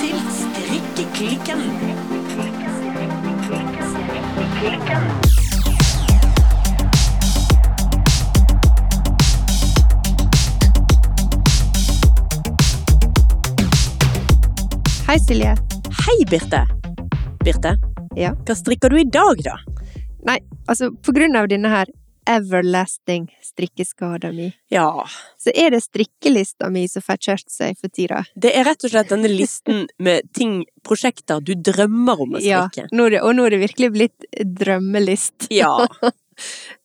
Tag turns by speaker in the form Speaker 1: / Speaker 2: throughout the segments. Speaker 1: til Strikkeklikken.
Speaker 2: Hei, Silje.
Speaker 1: Hei, Birte. Birte,
Speaker 2: Ja.
Speaker 1: hva strikker du i dag, da?
Speaker 2: Altså, på grunn av denne her everlasting strikkeskada mi,
Speaker 1: Ja,
Speaker 2: så er det strikkelista mi som får kjørt seg for tida.
Speaker 1: det er rett og slett denne listen med ting, prosjekter du drømmer om å strikke.
Speaker 2: nå er det, og nå er det virkelig blitt drømmelist.
Speaker 1: Ja.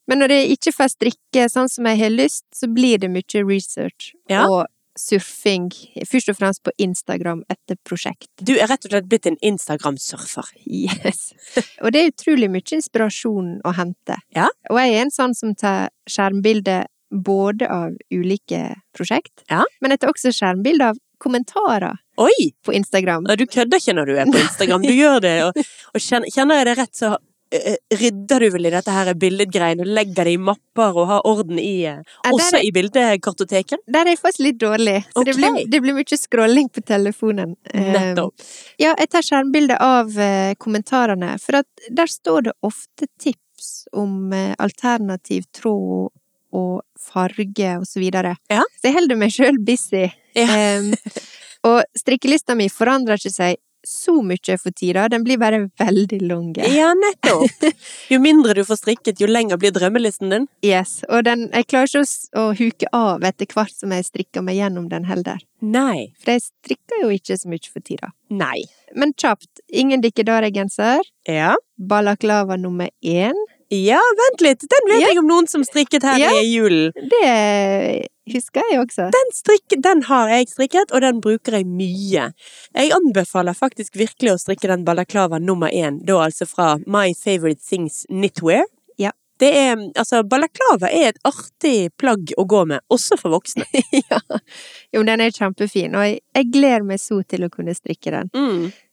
Speaker 2: Men når jeg ikke får strikke sånn som jeg har lyst, så blir det mye research
Speaker 1: Ja.
Speaker 2: og surfing, først og fremst på Instagram etter prosjekt.
Speaker 1: Du er rett og slett blitt en Instagram-surfer.
Speaker 2: Yes. Og det er utrolig mye inspirasjon å hente.
Speaker 1: Ja.
Speaker 2: Og jeg er en sånn som tar skjermbilde både av ulike prosjekt,
Speaker 1: Ja.
Speaker 2: men jeg tar også skjermbilde av kommentarer
Speaker 1: Oi!
Speaker 2: på Instagram.
Speaker 1: Nei, du kødder ikke når du er på Instagram. Du gjør det, og, og kjenner, kjenner jeg det rett, så eh, rydder du vel i dette her billedgreiene og legger det i mapper og har orden i eh,
Speaker 2: Ja, der
Speaker 1: Også
Speaker 2: er-
Speaker 1: i bildekartoteket.
Speaker 2: Der er jeg faktisk litt dårlig, så det,
Speaker 1: Ok.
Speaker 2: blir, det blir mye scrolling på telefonen. Eh,
Speaker 1: Nettopp.
Speaker 2: Ja, jeg tar skjermbilde av eh, kommentarene, for at der står det ofte tips om eh, alternativ tråd og farge og så videre.
Speaker 1: Ja.
Speaker 2: Så jeg holder meg sjøl busy.
Speaker 1: Ja.
Speaker 2: Em, og strikkelista mi forandrer ikke seg så mye for tida, den blir bare veldig lang.
Speaker 1: Ja, nettopp. Jo mindre du får strikket, jo lenger blir drømmelisten din.
Speaker 2: Yes, og den, jeg klarer ikke å, s- å huke av etter hvert som jeg strikker meg gjennom den heller.
Speaker 1: Nei.
Speaker 2: For jeg strikker jo ikke så mye for tida.
Speaker 1: Nei.
Speaker 2: Men kjapt, ingen dikkedaregenser,
Speaker 1: Ja.
Speaker 2: balaklava nummer én.
Speaker 1: Ja, vent litt. Den vet
Speaker 2: Ja.
Speaker 1: jeg om noen som strikket her
Speaker 2: Ja.
Speaker 1: i julen.
Speaker 2: Det husker jeg også.
Speaker 1: Den, strikk, den har jeg strikket, og den bruker jeg mye. Jeg anbefaler faktisk virkelig å strikke den balaklava nummer én, da altså fra My Favorite Things Knitwear.
Speaker 2: Ja.
Speaker 1: Det er, altså, balaklava er et artig plagg å gå med, også for voksne.
Speaker 2: Jo, den er kjempefin, og jeg, jeg gleder meg så til å kunne strikke den.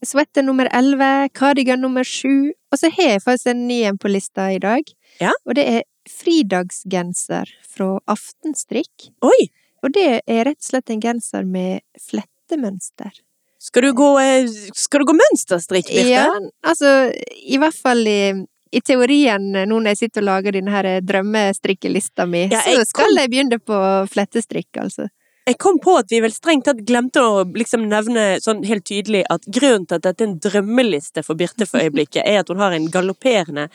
Speaker 2: Sweater nummer 11, kardigan nummer 7, og så har jeg faktisk en ny en på lista i dag.
Speaker 1: Ja.
Speaker 2: Og det er fridagsgenser fra Aftenstrikk.
Speaker 1: Oi!
Speaker 2: Og det er rett og slett en genser med flettemønster.
Speaker 1: Skal du gå, eh, skal du gå mønsterstrikk, Birte?
Speaker 2: Ja, altså, i hvert fall i, i teorien, nå når jeg sitter og lager denne her drømmestrikkelista mi,
Speaker 1: Ja,
Speaker 2: så
Speaker 1: jeg
Speaker 2: skal
Speaker 1: kom-
Speaker 2: jeg begynne på flettestrikk, altså.
Speaker 1: Jeg kom på at vi vel strengt tatt glemte å liksom nevne sånn helt tydelig at grunnen til at dette er en drømmeliste for Birte for øyeblikket, er at hun har en galopperende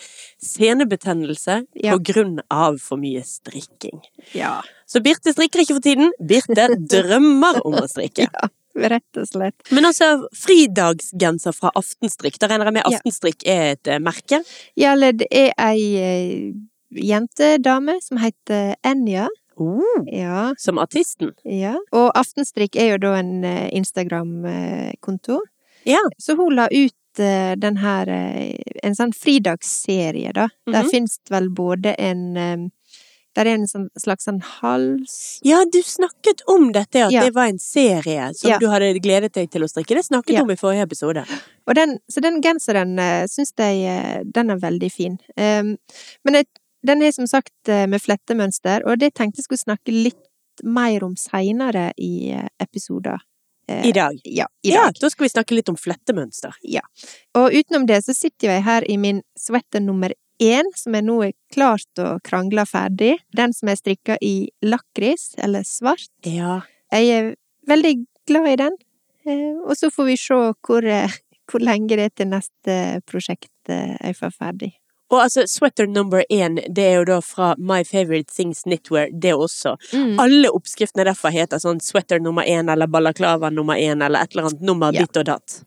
Speaker 1: senebetennelse
Speaker 2: Ja.
Speaker 1: på grunn av for mye strikking.
Speaker 2: Ja.
Speaker 1: Så Birte strikker ikke for tiden. Birte drømmer om å strikke.
Speaker 2: Rett og slett.
Speaker 1: Men altså, fridagsgenser fra Aftenstrikk. Da regner jeg med
Speaker 2: Ja.
Speaker 1: Aftenstrikk er et eh, merke.
Speaker 2: Ja, eller det er ei eh, jentedame som heter Enja. Ja,
Speaker 1: Som artisten.
Speaker 2: ja. Og Aftenstrikk er jo da en eh, Instagram-konto.
Speaker 1: Ja.
Speaker 2: Så hun la ut eh, den her eh, En sånn fridagsserie, da. Der
Speaker 1: Mhm.
Speaker 2: fins det vel både en eh, Der er en sånn slags sånn hals
Speaker 1: Ja, du snakket om dette, at
Speaker 2: Ja.
Speaker 1: det var en serie som
Speaker 2: Ja.
Speaker 1: du hadde gledet deg til å strikke. Det snakket
Speaker 2: Ja.
Speaker 1: om i forrige episode.
Speaker 2: og den, Så den genseren eh, syns jeg eh, den er veldig fin. Ehm, men jeg, den er som sagt eh, med flettemønster, og det tenkte jeg skulle snakke litt mer om seinere i eh, episoder. Eh,
Speaker 1: I dag.
Speaker 2: ja, i dag.
Speaker 1: Ja, da skal vi snakke litt om flettemønster.
Speaker 2: Og utenom det så sitter jeg her i min sweater nummer én, som jeg nå er klart og krangla ferdig. Den som jeg strikka i lakris, eller svart.
Speaker 1: Ja.
Speaker 2: Jeg er veldig glad i den. Eh, Og så får vi se hvor, eh, hvor lenge det er til neste prosjekt eh, jeg får ferdig.
Speaker 1: Og altså, sweater number én, det er jo da fra My Favorite Things Knitwear, det også.
Speaker 2: Mm.
Speaker 1: Alle oppskriftene derfor heter sånn sweater nummer én, eller balaklava nummer én, eller et eller annet nummer
Speaker 2: Ja.
Speaker 1: ditt og datt.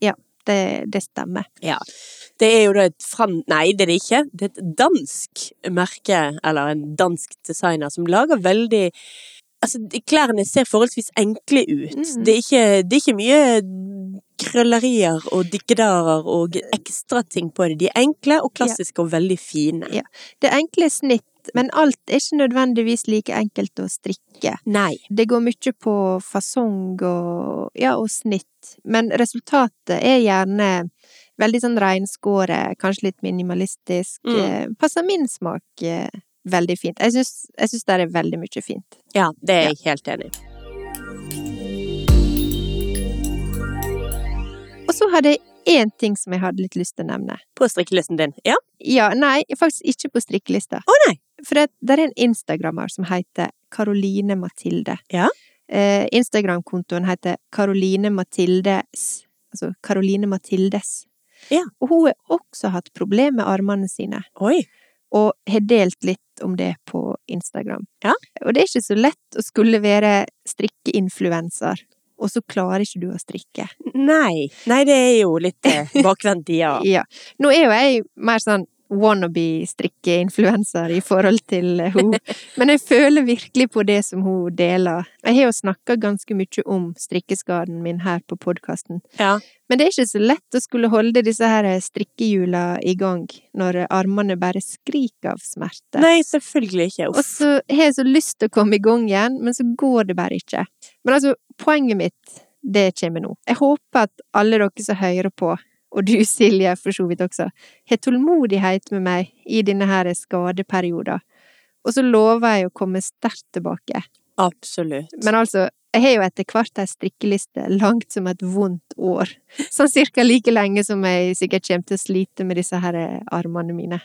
Speaker 2: Det, det stemmer.
Speaker 1: Det er jo da et fran... Nei, det er det ikke. Det er et dansk merke, eller en dansk designer, som lager veldig Altså, de- klærne ser forholdsvis enkle ut.
Speaker 2: Mhm.
Speaker 1: Det, er ikke, det er ikke mye krøllerier og dikkedarer og ekstra ting på det. De er enkle og klassiske og veldig fine.
Speaker 2: Ja. Det er enkle snitt, men alt er ikke nødvendigvis like enkelt å strikke.
Speaker 1: Nei.
Speaker 2: Det går mye på fasong og, ja, og snitt, men resultatet er gjerne veldig sånn reinskåret, kanskje litt minimalistisk.
Speaker 1: Mm.
Speaker 2: Eh, Passer min smak eh, veldig fint. Jeg syns, jeg syns det er veldig mye fint.
Speaker 1: Ja, det er jeg helt enig i.
Speaker 2: så hadde jeg én ting som jeg hadde litt lyst til å nevne.
Speaker 1: På strikkelisten din. Ja.
Speaker 2: Ja, nei, faktisk ikke på strikkelista.
Speaker 1: Å nei!
Speaker 2: For det, der er en instagrammer som heter Karoline Mathilde.
Speaker 1: Ja.
Speaker 2: Eh, Instagram-kontoen heter Karoline Mathildes Altså Karoline Mathildes.
Speaker 1: Ja.
Speaker 2: Og hun har også hatt problemer med armene sine,
Speaker 1: Oi.
Speaker 2: og har delt litt om det på Instagram.
Speaker 1: Ja.
Speaker 2: Og det er ikke så lett å skulle være strikkeinfluenser, og så klarer ikke du å strikke.
Speaker 1: Nei. Nei, det er jo litt eh, bakvendt, ja.
Speaker 2: Ja. Nå er jo jeg mer sånn wannabe-strikkeinfluenser i forhold til eh, hun. Men jeg føler virkelig på det som hun deler. Jeg har jo snakka ganske mye om strikkeskaden min her på podkasten.
Speaker 1: ja.
Speaker 2: Men det er ikke så lett å skulle holde disse her eh, strikkehjula i gang når eh, armene bare skriker av smerte.
Speaker 1: Nei, selvfølgelig ikke.
Speaker 2: Og
Speaker 1: Uff.
Speaker 2: så har jeg så lyst til å komme i gang igjen, men så går det bare ikke. Men altså, poenget mitt, det kommer nå. Jeg håper at alle dere som hører på, og du Silje for så vidt også, har tålmodighet med meg i denne her skadeperioden. Og så lover jeg å komme sterkt tilbake.
Speaker 1: Absolutt.
Speaker 2: Men altså, jeg har jo etter hvert ei strikkeliste langt som et vondt år. Sånn cirka like lenge som jeg sikkert kommer til å slite med disse her eh, armene mine.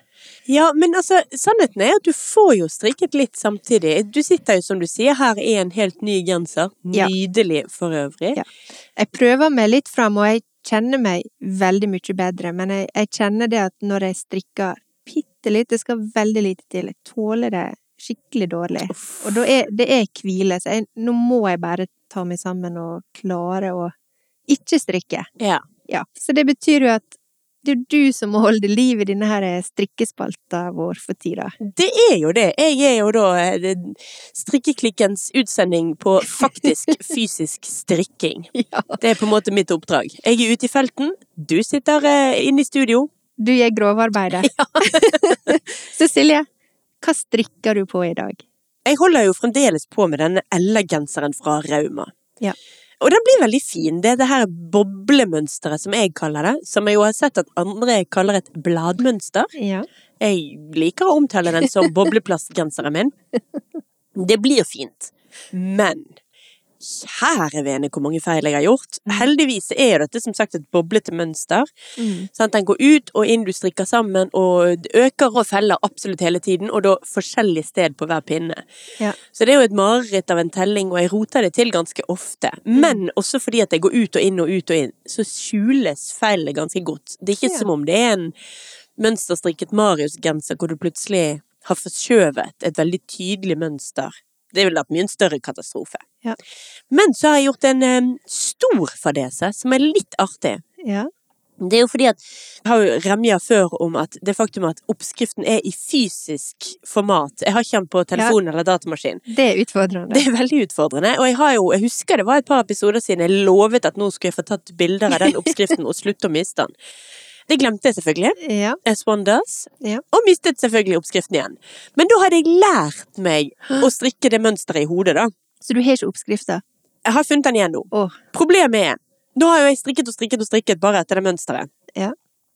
Speaker 1: Ja, men altså, sannheten er at du får jo strikket litt samtidig. Du sitter jo, som du sier, her i en helt ny genser.
Speaker 2: Ja.
Speaker 1: Nydelig for øvrig.
Speaker 2: Ja. Jeg prøver meg litt fram, og jeg kjenner meg veldig mye bedre, men jeg, jeg kjenner det at når jeg strikker bitte litt, det skal veldig lite til, jeg tåler det skikkelig dårlig.
Speaker 1: Uff.
Speaker 2: Og da er det er hvile, så jeg, nå må jeg bare ta meg sammen og klare å ikke strikke.
Speaker 1: Ja.
Speaker 2: Ja, så det betyr jo at det er du som må holde liv i denne her strikkespalta vår for tida.
Speaker 1: Det er jo det. Jeg er jo da eh, det- strikkeklikkens utsending på faktisk fysisk strikking.
Speaker 2: Ja.
Speaker 1: Det er på en måte mitt oppdrag. Jeg er ute i felten, du sitter eh, inne i studio.
Speaker 2: Du gjør grovarbeidet. Ja. så Silje, hva strikker du på i dag?
Speaker 1: Jeg holder jo fremdeles på med denne Ella-genseren fra Rauma.
Speaker 2: Ja.
Speaker 1: Og den blir veldig fin. Det er det her boblemønsteret som jeg kaller det, som jeg jo har sett at andre kaller et bladmønster.
Speaker 2: Ja.
Speaker 1: Jeg liker å omtale den som bobleplastgenseren min. Det blir fint. Men kjære vene hvor mange feil jeg har gjort. Heldigvis er jo dette som sagt et boblete mønster.
Speaker 2: Mm.
Speaker 1: Sant? Den går ut og inn, du strikker sammen, og det øker og feller absolutt hele tiden, og da forskjellig sted på hver pinne.
Speaker 2: Ja.
Speaker 1: Så det er jo et mareritt av en telling, og jeg roter det til ganske ofte.
Speaker 2: Mm.
Speaker 1: Men også fordi at jeg går ut og inn og ut og inn, så skjules feilene ganske godt. Det er ikke
Speaker 2: Ja.
Speaker 1: som om det er en mønsterstrikket Marius-genser hvor du plutselig har forskjøvet et veldig tydelig mønster. Det ville vært mye en større katastrofe.
Speaker 2: Ja.
Speaker 1: Men så har jeg gjort en em, stor fadese som er litt artig.
Speaker 2: Ja.
Speaker 1: Det er jo fordi at Jeg har jo remja før om at det faktum at oppskriften er i fysisk format. Jeg har ikke den på telefon eller datamaskin.
Speaker 2: Det er utfordrende.
Speaker 1: Det er veldig utfordrende. Og jeg, har jo, jeg husker det var et par episoder siden jeg lovet at nå skulle jeg få tatt bilder av den oppskriften og slutte å miste den. Det glemte jeg selvfølgelig.
Speaker 2: Ja.
Speaker 1: As one does.
Speaker 2: Ja.
Speaker 1: Og mistet selvfølgelig oppskriften igjen. Men da hadde jeg lært meg å strikke det mønsteret i hodet, da.
Speaker 2: Så du har ikke oppskrifta?
Speaker 1: Jeg har funnet den igjen nå.
Speaker 2: Åh.
Speaker 1: Problemet er Nå har jo jeg strikket og strikket og strikket bare etter det mønsteret.
Speaker 2: Ja.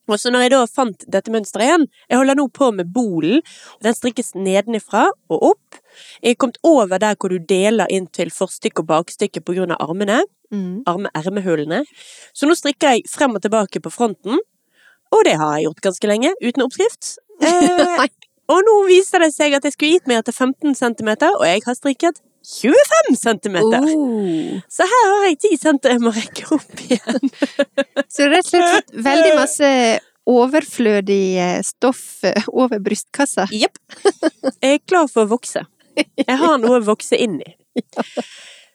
Speaker 1: Og så når jeg da fant dette mønsteret igjen Jeg holder nå på med bolen. og Den strikkes nedenifra og opp. Jeg er kommet over der hvor du deler inn til forstykke og bakstykke på grunn av armene.
Speaker 2: Mm.
Speaker 1: arme ermehulene. Så nå strikker jeg frem og tilbake på fronten, og det har jeg gjort ganske lenge, uten oppskrift. Eh,
Speaker 2: Nei.
Speaker 1: og nå viser det seg at jeg skulle gitt meg etter 15 cm, og jeg har strikket 25 cm!
Speaker 2: Oh.
Speaker 1: Så her har jeg 10 cm jeg må rekke opp igjen.
Speaker 2: Så du har rett og slett fått veldig masse overflødig eh, stoff eh, over brystkassa?
Speaker 1: Jepp. Jeg er klar for å vokse. Jeg har noe å vokse inn i.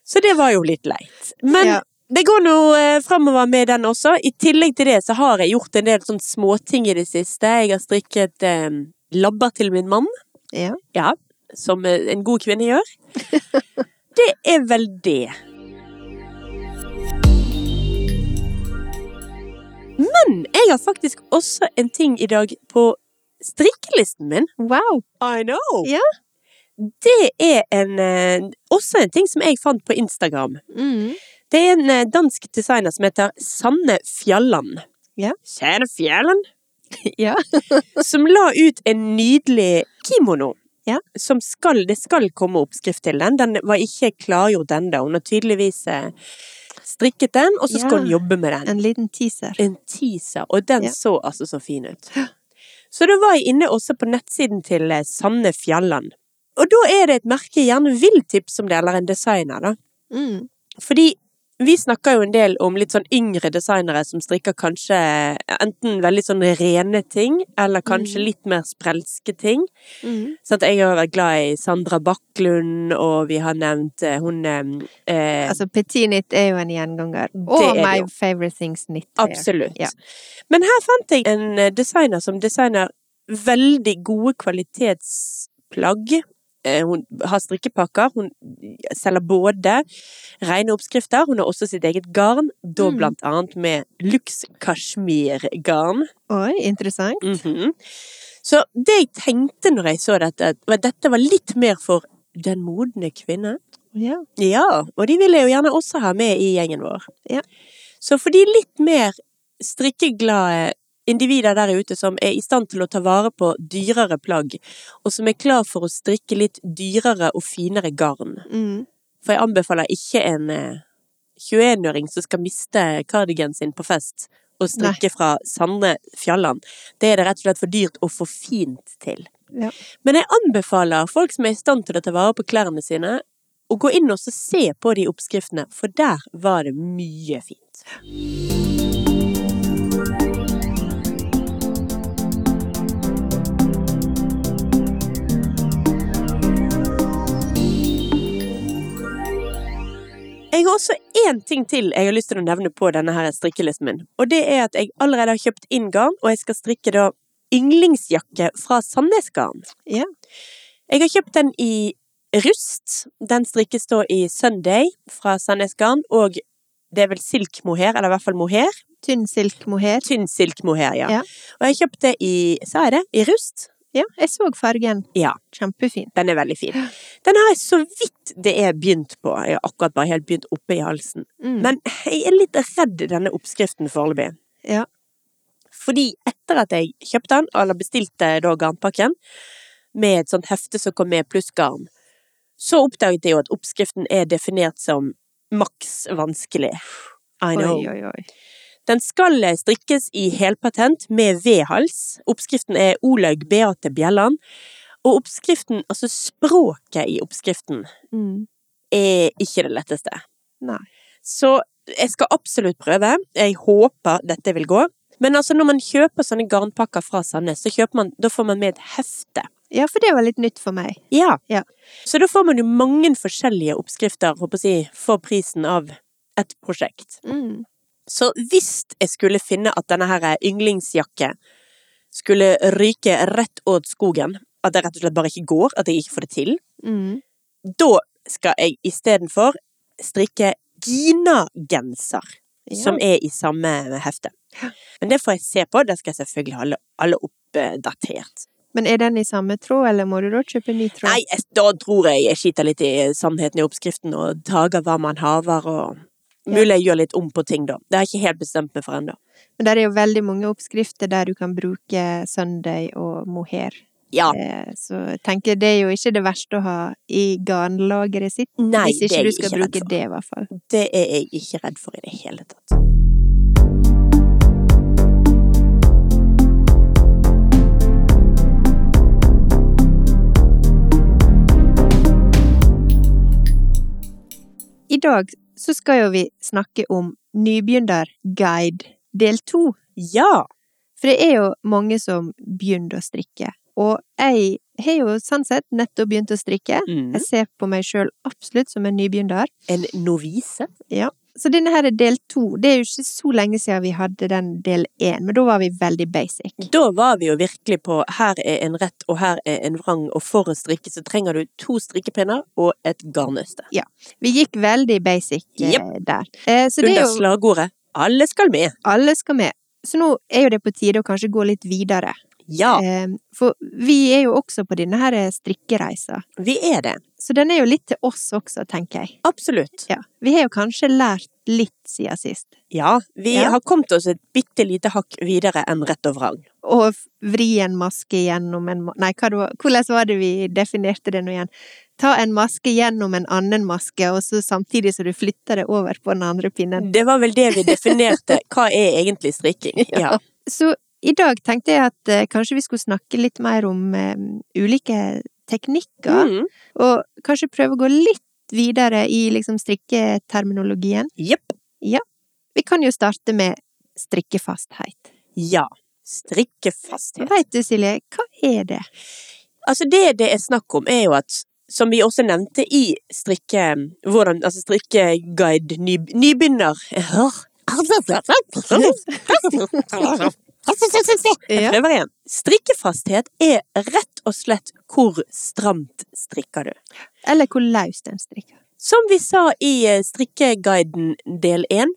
Speaker 1: Så det var jo litt leit. Men
Speaker 2: Ja.
Speaker 1: det går nå eh, framover med den også. I tillegg til det så har jeg gjort en del sånn småting i det siste. Jeg har strikket eh, labber til min mann,
Speaker 2: Ja.
Speaker 1: ja, som eh, en god kvinne gjør. Det er vel det. Men jeg har faktisk også en ting i dag på strikkelisten min.
Speaker 2: Wow!
Speaker 1: I know!
Speaker 2: Ja.
Speaker 1: Det er en, eh, også en ting som jeg fant på Instagram.
Speaker 2: Mm.
Speaker 1: Det er en eh, dansk designer som heter Sanne Fjalland.
Speaker 2: Ja.
Speaker 1: Kjære Fjalland!
Speaker 2: Ja.
Speaker 1: Som la ut en nydelig kimono.
Speaker 2: Ja.
Speaker 1: Som skal, det skal komme oppskrift til den. Den var ikke klargjort ennå. Hun har tydeligvis eh, Strikket den, og så skal
Speaker 2: Ja.
Speaker 1: hun jobbe med den.
Speaker 2: En liten teaser.
Speaker 1: En teaser, og den
Speaker 2: Ja.
Speaker 1: så altså så fin ut. Så da var jeg inne også på nettsiden til eh, Sanne Fjalland. Og da er det et merke jeg gjerne vil tipse om det, eller en designer, da.
Speaker 2: Mm.
Speaker 1: Fordi vi snakker jo en del om litt sånn yngre designere som strikker kanskje enten veldig sånn rene ting, eller kanskje
Speaker 2: Mm.
Speaker 1: litt mer sprelske ting.
Speaker 2: Mm.
Speaker 1: Sånn at jeg har vært glad i Sandra Bakklund, og vi har nevnt eh, hun eh,
Speaker 2: Altså, Petinit er jo en gjenganger.
Speaker 1: er
Speaker 2: Og
Speaker 1: det
Speaker 2: My
Speaker 1: jo.
Speaker 2: Favorite Things Knit.
Speaker 1: Absolutt.
Speaker 2: Ja.
Speaker 1: Men her fant jeg en eh, designer som designer veldig gode kvalitetsplagg. Eh, Hun har strikkepakker, hun selger både rene oppskrifter, hun har også sitt eget garn, da
Speaker 2: Mm.
Speaker 1: blant annet med Lux Kashmir-garn.
Speaker 2: Oi, interessant.
Speaker 1: Mhm. Så det jeg tenkte når jeg så dette, var at dette var litt mer for den modne kvinne.
Speaker 2: Ja.
Speaker 1: Ja, og de vil jeg jo gjerne også ha med i gjengen vår.
Speaker 2: Ja.
Speaker 1: Så for de litt mer strikkeglade individer der ute som er i stand til å ta vare på dyrere plagg, og som er klar for å strikke litt dyrere og finere garn.
Speaker 2: Mm.
Speaker 1: For jeg anbefaler ikke en eh, 21-åring som skal miste cardiganen sin på fest, å strikke fra Sande Fjalland. Det er det rett og slett for dyrt og for fint til.
Speaker 2: Ja.
Speaker 1: Men jeg anbefaler folk som er i stand til å ta vare på klærne sine, å gå inn og så se på de oppskriftene, for der var det mye fint. Jeg har også én ting til jeg har lyst til å nevne på denne her strikkelisten min. Og det er at jeg allerede har kjøpt inn garn, og jeg skal strikke da yndlingsjakke fra Sandnes Garn.
Speaker 2: Ja.
Speaker 1: Jeg har kjøpt den i rust. Den strikkes da i Sunday fra Sandnes Garn, og det er vel silk mohair, eller i hvert fall mohair.
Speaker 2: Tynn silk mohair.
Speaker 1: Tynn silk mohair, ja.
Speaker 2: Ja.
Speaker 1: Og jeg kjøpte det i, sa jeg det, i rust.
Speaker 2: Ja, jeg så fargen.
Speaker 1: Ja.
Speaker 2: Kjempefin.
Speaker 1: Den er veldig fin. Den har jeg så vidt det er begynt på. Jeg har akkurat bare helt begynt oppe i halsen.
Speaker 2: Mm.
Speaker 1: Men jeg er litt redd denne oppskriften foreløpig.
Speaker 2: Ja.
Speaker 1: Fordi etter at jeg kjøpte den, eller bestilte eh, da garnpakken, med et sånt hefte som kom med pluss garn, så oppdaget jeg jo at oppskriften er definert som maks vanskelig. I
Speaker 2: oi,
Speaker 1: know.
Speaker 2: oi, oi.
Speaker 1: Den skal eh, strikkes i helpatent med V-hals. Oppskriften er Olaug Beate Bjelland. Og oppskriften, altså språket i oppskriften,
Speaker 2: Mm.
Speaker 1: er ikke det letteste.
Speaker 2: Nei.
Speaker 1: Så jeg skal absolutt prøve. Jeg håper dette vil gå. Men altså, når man kjøper sånne garnpakker fra Sandnes, så kjøper man, da får man med et hefte.
Speaker 2: Ja, for det var litt nytt for meg.
Speaker 1: Ja.
Speaker 2: Ja.
Speaker 1: Så da får man jo mange forskjellige oppskrifter, håper jeg, å si, for prisen av et prosjekt.
Speaker 2: Mm.
Speaker 1: Så hvis jeg skulle finne at denne her yndlingsjakke skulle ryke rett åt skogen, at det rett og slett bare ikke går, at jeg ikke får det til,
Speaker 2: Mm.
Speaker 1: da skal jeg istedenfor strikke Gina-genser,
Speaker 2: Ja.
Speaker 1: som er i samme hefte. Men det får jeg se på, det skal jeg selvfølgelig holde alle oppdatert.
Speaker 2: Men er den i samme tråd, eller må du da kjøpe ny tråd?
Speaker 1: Nei, jeg- da tror jeg jeg skiter litt i sannheten i oppskriften og tager hva man haver og
Speaker 2: Ja.
Speaker 1: Mulig jeg gjør litt om på ting, da. Det har jeg ikke helt bestemt meg for ennå.
Speaker 2: Men der er jo veldig mange oppskrifter der du kan bruke Sunday og mohair.
Speaker 1: Ja.
Speaker 2: Eh, Så jeg tenker det er jo ikke det verste å ha i garnlageret sitt.
Speaker 1: Nei,
Speaker 2: hvis
Speaker 1: det
Speaker 2: ikke
Speaker 1: er
Speaker 2: du
Speaker 1: jeg
Speaker 2: skal
Speaker 1: ikke redd
Speaker 2: bruke
Speaker 1: for.
Speaker 2: det, i hvert fall.
Speaker 1: Det er jeg ikke redd for i det hele tatt.
Speaker 2: I dag så skal jo vi snakke om nybegynnerguide del to.
Speaker 1: Ja!
Speaker 2: For det er jo mange som begynner å strikke. Og jeg har jo sånn sett nettopp begynt å strikke.
Speaker 1: Mm.
Speaker 2: Jeg ser på meg sjøl absolutt som en nybegynner.
Speaker 1: En novise.
Speaker 2: Så denne her er del to. Det er jo ikke så lenge siden vi hadde den del én, men da var vi veldig basic.
Speaker 1: Da var vi jo virkelig på her er en rett og her er en vrang, og for å strikke så trenger du to strikkepinner og et garnnøste.
Speaker 2: Vi gikk veldig basic eh, der. Eh, så det
Speaker 1: Under
Speaker 2: er jo
Speaker 1: slagordet 'Alle skal med'.
Speaker 2: Alle skal med. Så nå er jo det på tide å kanskje gå litt videre.
Speaker 1: Ja,
Speaker 2: Eh, for vi er jo også på denne her eh, strikkereisa.
Speaker 1: vi er det.
Speaker 2: Så den er jo litt til oss også, tenker jeg.
Speaker 1: Absolutt.
Speaker 2: Ja. Vi har jo kanskje lært litt siden sist.
Speaker 1: Ja, vi
Speaker 2: Ja.
Speaker 1: har kommet oss et bitte lite hakk videre enn rett og vrang.
Speaker 2: Og vri en maske gjennom en ma- Nei, hva det var, hvordan var det vi definerte det nå igjen? ta en maske gjennom en annen maske, og så samtidig som du flytter det over på den andre pinnen.
Speaker 1: Det var vel det vi definerte. Hva er egentlig strikking? Ja.
Speaker 2: Så i dag tenkte jeg at eh, kanskje vi skulle snakke litt mer om eh, ulike teknikker,
Speaker 1: Mm.
Speaker 2: og kanskje prøve å gå litt videre i liksom strikketerminologien.
Speaker 1: Jepp.
Speaker 2: Vi kan jo starte med strikkefasthet.
Speaker 1: Ja. Strikkefasthet.
Speaker 2: Veit du, Silje, hva er det?
Speaker 1: Altså det det er snakk om er jo at som vi også nevnte i strikke... Hvordan, altså strikkeguide ny, nybegynner Jeg prøver igjen. Strikkefasthet er rett og slett hvor stramt strikker du.
Speaker 2: Eller hvor løst en strikker?
Speaker 1: Som vi sa i eh, strikkeguiden del 1,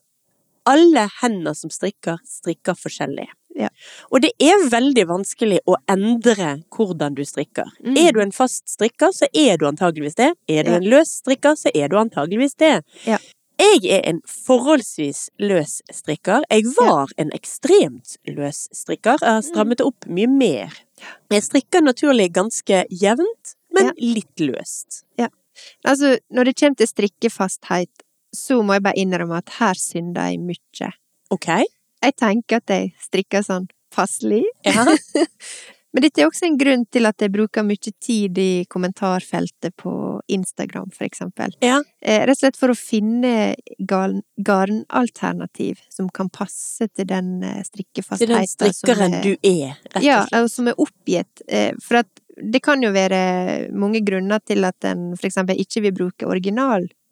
Speaker 1: alle hender som strikker, strikker forskjellig.
Speaker 2: Ja.
Speaker 1: Og det er veldig vanskelig å endre hvordan du strikker.
Speaker 2: Mm.
Speaker 1: Er du en fast strikker, så er du antageligvis det. Er du
Speaker 2: Ja.
Speaker 1: en løs strikker, så er du antageligvis det.
Speaker 2: Ja.
Speaker 1: Jeg er en forholdsvis løs strikker. Jeg var en ekstremt løs strikker. Jeg har
Speaker 2: Mm.
Speaker 1: strammet det opp mye mer. Jeg strikker naturlig ganske jevnt, men
Speaker 2: Ja.
Speaker 1: litt løst.
Speaker 2: Altså, når det kommer til strikkefasthet, så må jeg bare innrømme at her synder jeg mye.
Speaker 1: Ok?
Speaker 2: Jeg tenker at jeg strikker sånn passelig,
Speaker 1: Ja.
Speaker 2: men dette er også en grunn til at jeg bruker mye tid i kommentarfeltet på Instagram, for eksempel.
Speaker 1: Ja.
Speaker 2: Eh, Rett og slett for å finne garn- garnalternativ som kan passe til den eh,
Speaker 1: Til den
Speaker 2: strikkefastheten. som
Speaker 1: strikkeren
Speaker 2: jeg-
Speaker 1: du er, rett og slett.
Speaker 2: altså, eh, Ja, og som er oppgitt. eh, For at det kan jo være mange grunner til at en for eksempel ikke vil bruke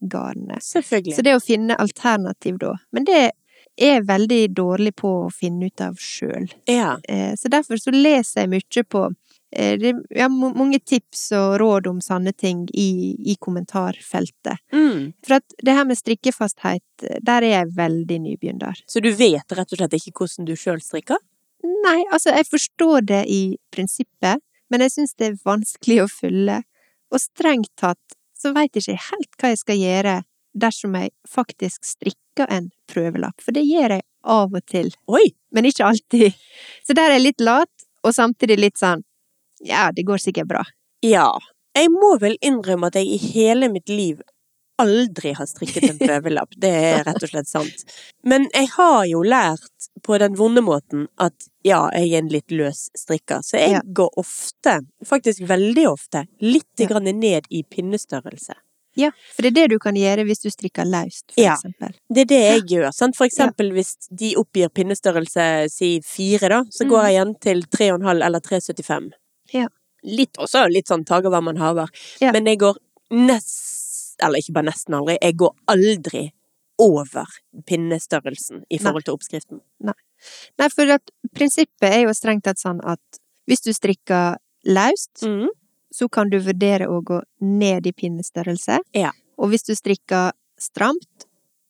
Speaker 2: originalgarnet.
Speaker 1: Selvfølgelig.
Speaker 2: Så det å finne alternativ da. Men det er jeg veldig dårlig på å finne ut av sjøl. Eh,
Speaker 1: ja.
Speaker 2: Så derfor så leser jeg mye på eh, det, ja, ma- mange tips og råd om sånne ting i, i kommentarfeltet.
Speaker 1: Mm.
Speaker 2: For at det her med strikkefasthet, eh, der er jeg veldig nybegynner.
Speaker 1: Så du vet rett og slett ikke hvordan du sjøl strikker?
Speaker 2: Nei, altså, jeg forstår det i prinsippet, men jeg syns det er vanskelig å følge. Og strengt tatt så veit jeg ikke helt hva jeg skal gjøre dersom jeg faktisk strikker en prøvelapp, for det gjør jeg av og til,
Speaker 1: Oi!
Speaker 2: men ikke alltid. Så der er jeg litt lat, og samtidig litt sånn ja, det går sikkert bra.
Speaker 1: Ja. Jeg må vel innrømme at jeg i hele mitt liv aldri har strikket en prøvelapp. Det er rett og slett sant. Men jeg har jo lært på den vonde måten at ja, jeg er en litt løs strikker, så jeg
Speaker 2: Ja.
Speaker 1: går ofte, faktisk veldig ofte, litt
Speaker 2: Ja.
Speaker 1: grann ned i pinnestørrelse.
Speaker 2: Ja, for det er det du kan gjøre hvis du strikker løst, for
Speaker 1: Ja.
Speaker 2: eksempel.
Speaker 1: Det er det jeg gjør. Sant? For eksempel hvis de oppgir pinnestørrelse si fire, da, så går jeg igjen til 3,5 eller 3,75.
Speaker 2: Ja.
Speaker 1: Litt også, litt sånn tager hva man haver.
Speaker 2: Ja.
Speaker 1: Men jeg går nest, eller ikke bare nesten aldri, jeg går aldri over pinnestørrelsen i forhold til oppskriften.
Speaker 2: Nei, for at prinsippet er jo strengt tatt sånn at hvis du strikker løst,
Speaker 1: Mm.
Speaker 2: så kan du vurdere å gå ned i pinnestørrelse.
Speaker 1: Ja.
Speaker 2: Og hvis du strikker stramt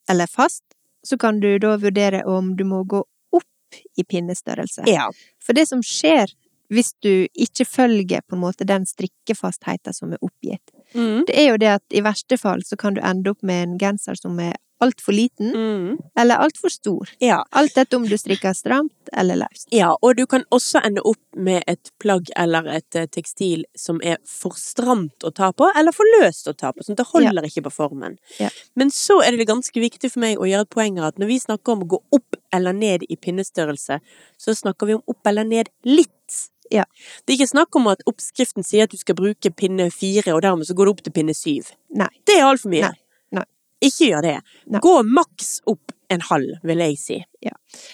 Speaker 2: eller fast, så kan du da vurdere om du må gå opp i pinnestørrelse.
Speaker 1: Ja.
Speaker 2: For det som skjer hvis du ikke følger på en måte den strikkefastheten som er oppgitt,
Speaker 1: Mm.
Speaker 2: det er jo det at i verste fall så kan du ende opp med en genser som er altfor liten
Speaker 1: Mm.
Speaker 2: eller altfor stor.
Speaker 1: ja.
Speaker 2: Alt dette om du strikker stramt eller løst.
Speaker 1: Ja, og du kan også ende opp med et plagg eller et eh, tekstil som er for stramt å ta på, eller for løst å ta på, sånn at det holder ikke på formen.
Speaker 2: Ja.
Speaker 1: Men så er det vel ganske viktig for meg å gjøre et poeng av at når vi snakker om å gå opp eller ned i pinnestørrelse, så snakker vi om opp eller ned litt.
Speaker 2: Ja.
Speaker 1: Det er ikke snakk om at oppskriften sier at du skal bruke pinne fire, og dermed så går du opp til pinne syv.
Speaker 2: Nei.
Speaker 1: Det er altfor mye.
Speaker 2: Nei, nei.
Speaker 1: Ikke gjør det.
Speaker 2: Nei.
Speaker 1: Gå maks opp en halv, vil jeg si.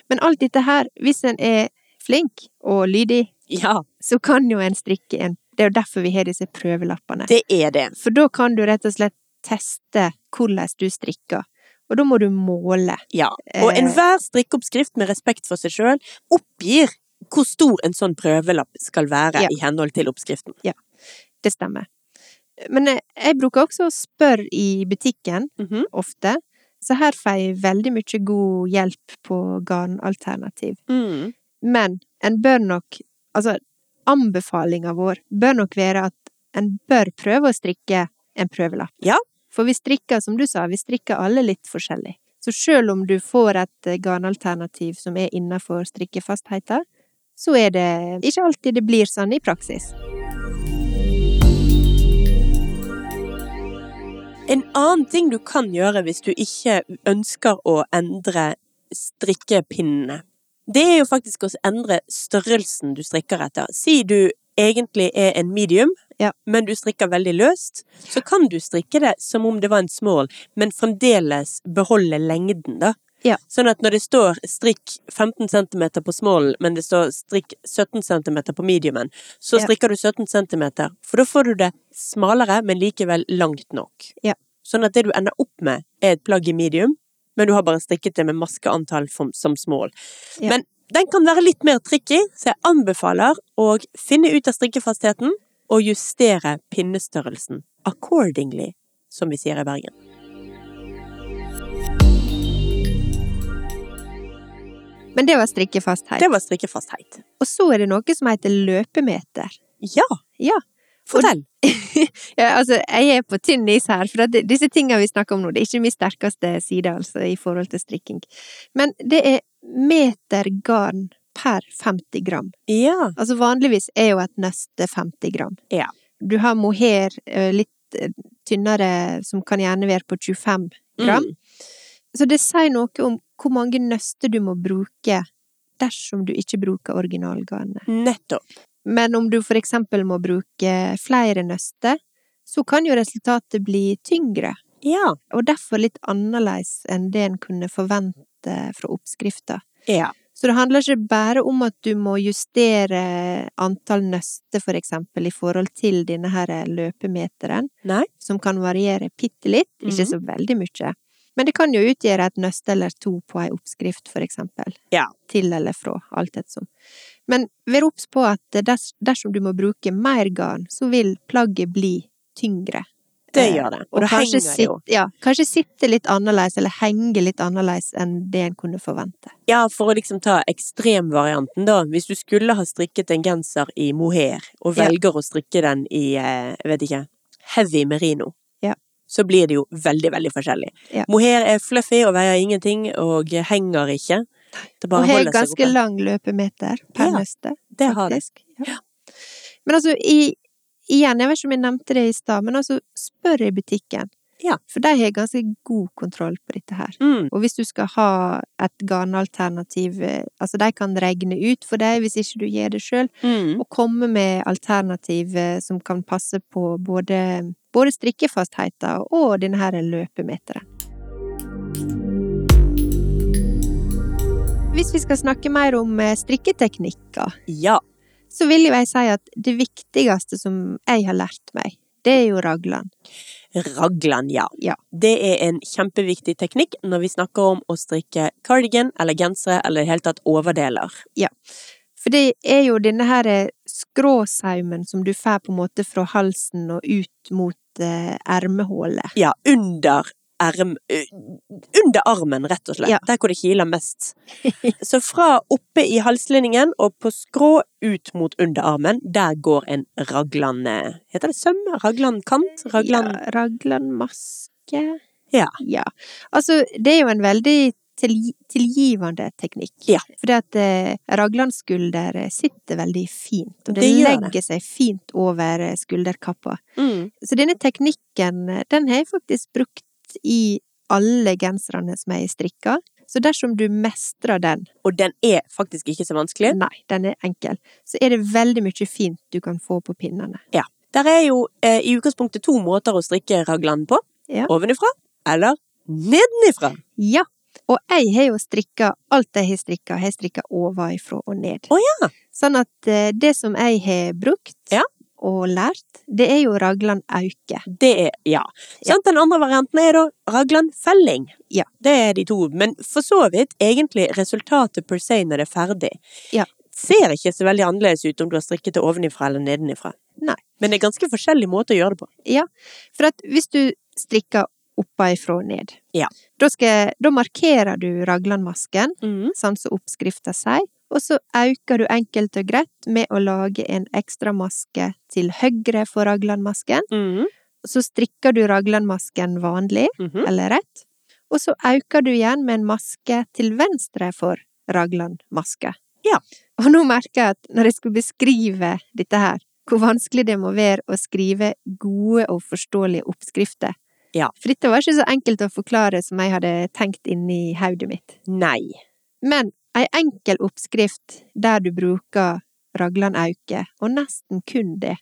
Speaker 2: Men alt dette her, hvis en er flink og lydig,
Speaker 1: Ja,
Speaker 2: så kan jo en strikke en. Det er jo derfor vi har disse prøvelappene.
Speaker 1: det er det.
Speaker 2: For da kan du rett og slett teste hvordan du strikker. Og da må du måle.
Speaker 1: Ja, og
Speaker 2: Eh.
Speaker 1: enhver strikkeoppskrift med respekt for seg sjøl oppgir hvor stor en sånn prøvelapp skal være
Speaker 2: Ja.
Speaker 1: i henhold til oppskriften.
Speaker 2: Det stemmer. Men eh, jeg bruker også å spørre i butikken,
Speaker 1: Mhm.
Speaker 2: ofte. Så her får jeg veldig mye god hjelp på garnalternativ. Men en bør nok Altså, anbefalinga vår bør nok være at en bør prøve å strikke en prøvelapp.
Speaker 1: Ja.
Speaker 2: For vi strikker, som du sa, vi strikker alle litt forskjellig. Så selv om du får et eh, garnalternativ som er innenfor strikkefastheten, så er det ikke alltid det blir sånn i praksis.
Speaker 1: En annen ting du kan gjøre hvis du ikke ønsker å endre strikkepinnene, det er jo faktisk å endre størrelsen du strikker etter. Si du egentlig er en medium,
Speaker 2: Ja.
Speaker 1: men du strikker veldig løst, så kan du strikke det som om det var en small, men fremdeles beholde lengden, da.
Speaker 2: Ja.
Speaker 1: Sånn at når det står strikk 15 cm på smallen, men det står strikk 17 cm på mediumen, så
Speaker 2: Ja.
Speaker 1: strikker du 17 cm, for da får du det smalere, men likevel langt nok.
Speaker 2: Ja.
Speaker 1: Sånn at det du ender opp med, er et plagg i medium, men du har bare strikket det med maskeantall som, som small.
Speaker 2: Ja.
Speaker 1: Men den kan være litt mer tricky, så jeg anbefaler å finne ut av strikkefastheten og justere pinnestørrelsen accordingly, som vi sier i Bergen.
Speaker 2: Men det var strikkefasthet.
Speaker 1: Det var strikkefasthet.
Speaker 2: Og så er det noe som heter løpemeter.
Speaker 1: Ja,
Speaker 2: Ja.
Speaker 1: fortell!
Speaker 2: ja altså, jeg er på tynn is her, for at disse tingene vi snakker om nå, det er ikke min sterkeste side, altså, i forhold til strikking. Men det er meter garn per 50 gram.
Speaker 1: Ja.
Speaker 2: Altså vanligvis er jo et nøste 50 gram.
Speaker 1: Ja.
Speaker 2: Du har mohair eh, litt eh, tynnere, som kan gjerne være på 25 gram.
Speaker 1: Mm.
Speaker 2: Så det sier noe om hvor mange nøster du må bruke dersom du ikke bruker originalgarnet.
Speaker 1: Mm. Nettopp.
Speaker 2: Men om du for eksempel må bruke flere nøster, så kan jo resultatet bli tyngre,
Speaker 1: Ja.
Speaker 2: og derfor litt annerledes enn det en kunne forvente fra oppskrifta.
Speaker 1: Ja.
Speaker 2: Så det handler ikke bare om at du må justere antall nøster, for eksempel, i forhold til denne her løpemeteren,
Speaker 1: Nei. Mhm.
Speaker 2: som kan variere bitte litt, ikke så veldig mye. Men det kan jo utgjøre et nøste eller to på ei oppskrift, for eksempel.
Speaker 1: Ja.
Speaker 2: Til eller fra, alt ettersom. Men vær obs på at ders, dersom du må bruke mer garn, så vil plagget bli tyngre.
Speaker 1: Det
Speaker 2: Eh,
Speaker 1: gjør det. Og det
Speaker 2: kanskje
Speaker 1: henger jo.
Speaker 2: sitt- Ja, kanskje sitte litt annerledes, eller henge litt annerledes enn det en kunne forvente.
Speaker 1: Ja, for å liksom ta ekstremvarianten, da. Hvis du skulle ha strikket en genser i mohair, og
Speaker 2: Ja.
Speaker 1: velger å strikke den i, eh, jeg vet ikke, heavy merino,
Speaker 2: Ja.
Speaker 1: så blir det jo veldig, veldig forskjellig.
Speaker 2: Ja.
Speaker 1: Mohair er fluffy og veier ingenting, og henger ikke. Det bare
Speaker 2: Og har
Speaker 1: holder seg
Speaker 2: ganske
Speaker 1: oppe.
Speaker 2: lang løpemeter per
Speaker 1: Ja,
Speaker 2: nøste.
Speaker 1: Det har det.
Speaker 2: faktisk. Ja. Men altså, i, igjen, jeg vet ikke om jeg nevnte det i stad, men altså, spør i butikken.
Speaker 1: Ja.
Speaker 2: For de har ganske god kontroll på dette her.
Speaker 1: Mm,
Speaker 2: Og hvis du skal ha et garnalternativ, eh, altså de kan regne ut for deg hvis ikke du gjør det sjøl,
Speaker 1: mm.
Speaker 2: og komme med alternativ eh, som kan passe på både, både strikkefastheten og denne her løpemeteren. Hvis vi skal snakke mer om eh, strikketeknikker,
Speaker 1: Ja.
Speaker 2: så vil jo jeg si at det viktigste som jeg har lært meg, det er jo raglan.
Speaker 1: Raglan, ja.
Speaker 2: Ja.
Speaker 1: Det er en kjempeviktig teknikk når vi snakker om å strikke cardigan eller gensere eller i det hele tatt overdeler.
Speaker 2: For det er jo denne her eh, skråsaumen som du får på en måte fra halsen og ut mot eh, ermehullet.
Speaker 1: Ja, under erm... eh, Under armen, rett og slett.
Speaker 2: Ja.
Speaker 1: Der hvor det kiler mest. Så fra oppe i halslinningen og på skrå ut mot underarmen, der går en raglan eh, Heter det søm? Raglankant? Raglan...
Speaker 2: Ja, raglanmaske.
Speaker 1: Ja.
Speaker 2: ja. Altså, det er jo en veldig tilgi tilgivende teknikk.
Speaker 1: Ja.
Speaker 2: Fordi at eh, raglanskulder sitter veldig fint, og det,
Speaker 1: Det gjør det.
Speaker 2: legger seg fint over eh, skulderkappa.
Speaker 1: Mm.
Speaker 2: Så denne teknikken, eh, den har jeg faktisk brukt i alle genserne som jeg strikker. Så dersom du mestrer den,
Speaker 1: Og den er faktisk ikke så vanskelig.
Speaker 2: nei, den er enkel, så er det veldig mye fint du kan få på pinnene.
Speaker 1: Der er jo eh, i utgangspunktet to måter å strikke raglan på.
Speaker 2: Ja.
Speaker 1: Ovenifra eller nedenifra.
Speaker 2: Ja, og jeg har jo strikka alt jeg har strikka, har jeg strikka ovenfra og ned.
Speaker 1: Å ja.
Speaker 2: Sånn at eh, det som jeg har brukt
Speaker 1: Ja.
Speaker 2: og lært, det er jo raglan auke.
Speaker 1: Det er ja. Sant? Den andre varianten er da raglan felling.
Speaker 2: Ja.
Speaker 1: Det er de to. Men for så vidt egentlig resultatet per se når det er ferdig.
Speaker 2: Ja.
Speaker 1: Ser ikke så veldig annerledes ut om du har strikket det ovenifra eller nedenifra.
Speaker 2: Nei.
Speaker 1: Men det er ganske forskjellige måter å gjøre det på.
Speaker 2: For at hvis du strikker oppenfra og ned,
Speaker 1: Ja.
Speaker 2: da, skal, da markerer du raglanmasken,
Speaker 1: Mm,
Speaker 2: sånn som oppskrifta sier, og så øker du enkelt og greit med å lage en ekstra maske til høyre for raglanmasken.
Speaker 1: Mhm.
Speaker 2: Så strikker du raglanmasken vanlig,
Speaker 1: Mhm.
Speaker 2: eller rett, og så øker du igjen med en maske til venstre for raglanmaske.
Speaker 1: Ja.
Speaker 2: Og nå merker jeg at når jeg skulle beskrive dette her, hvor vanskelig det må være å skrive gode og forståelige oppskrifter,
Speaker 1: Ja.
Speaker 2: For dette var ikke så enkelt å forklare som jeg hadde tenkt inni hodet mitt.
Speaker 1: Nei.
Speaker 2: Men ei enkel oppskrift der du bruker raglan auke, og nesten kun det,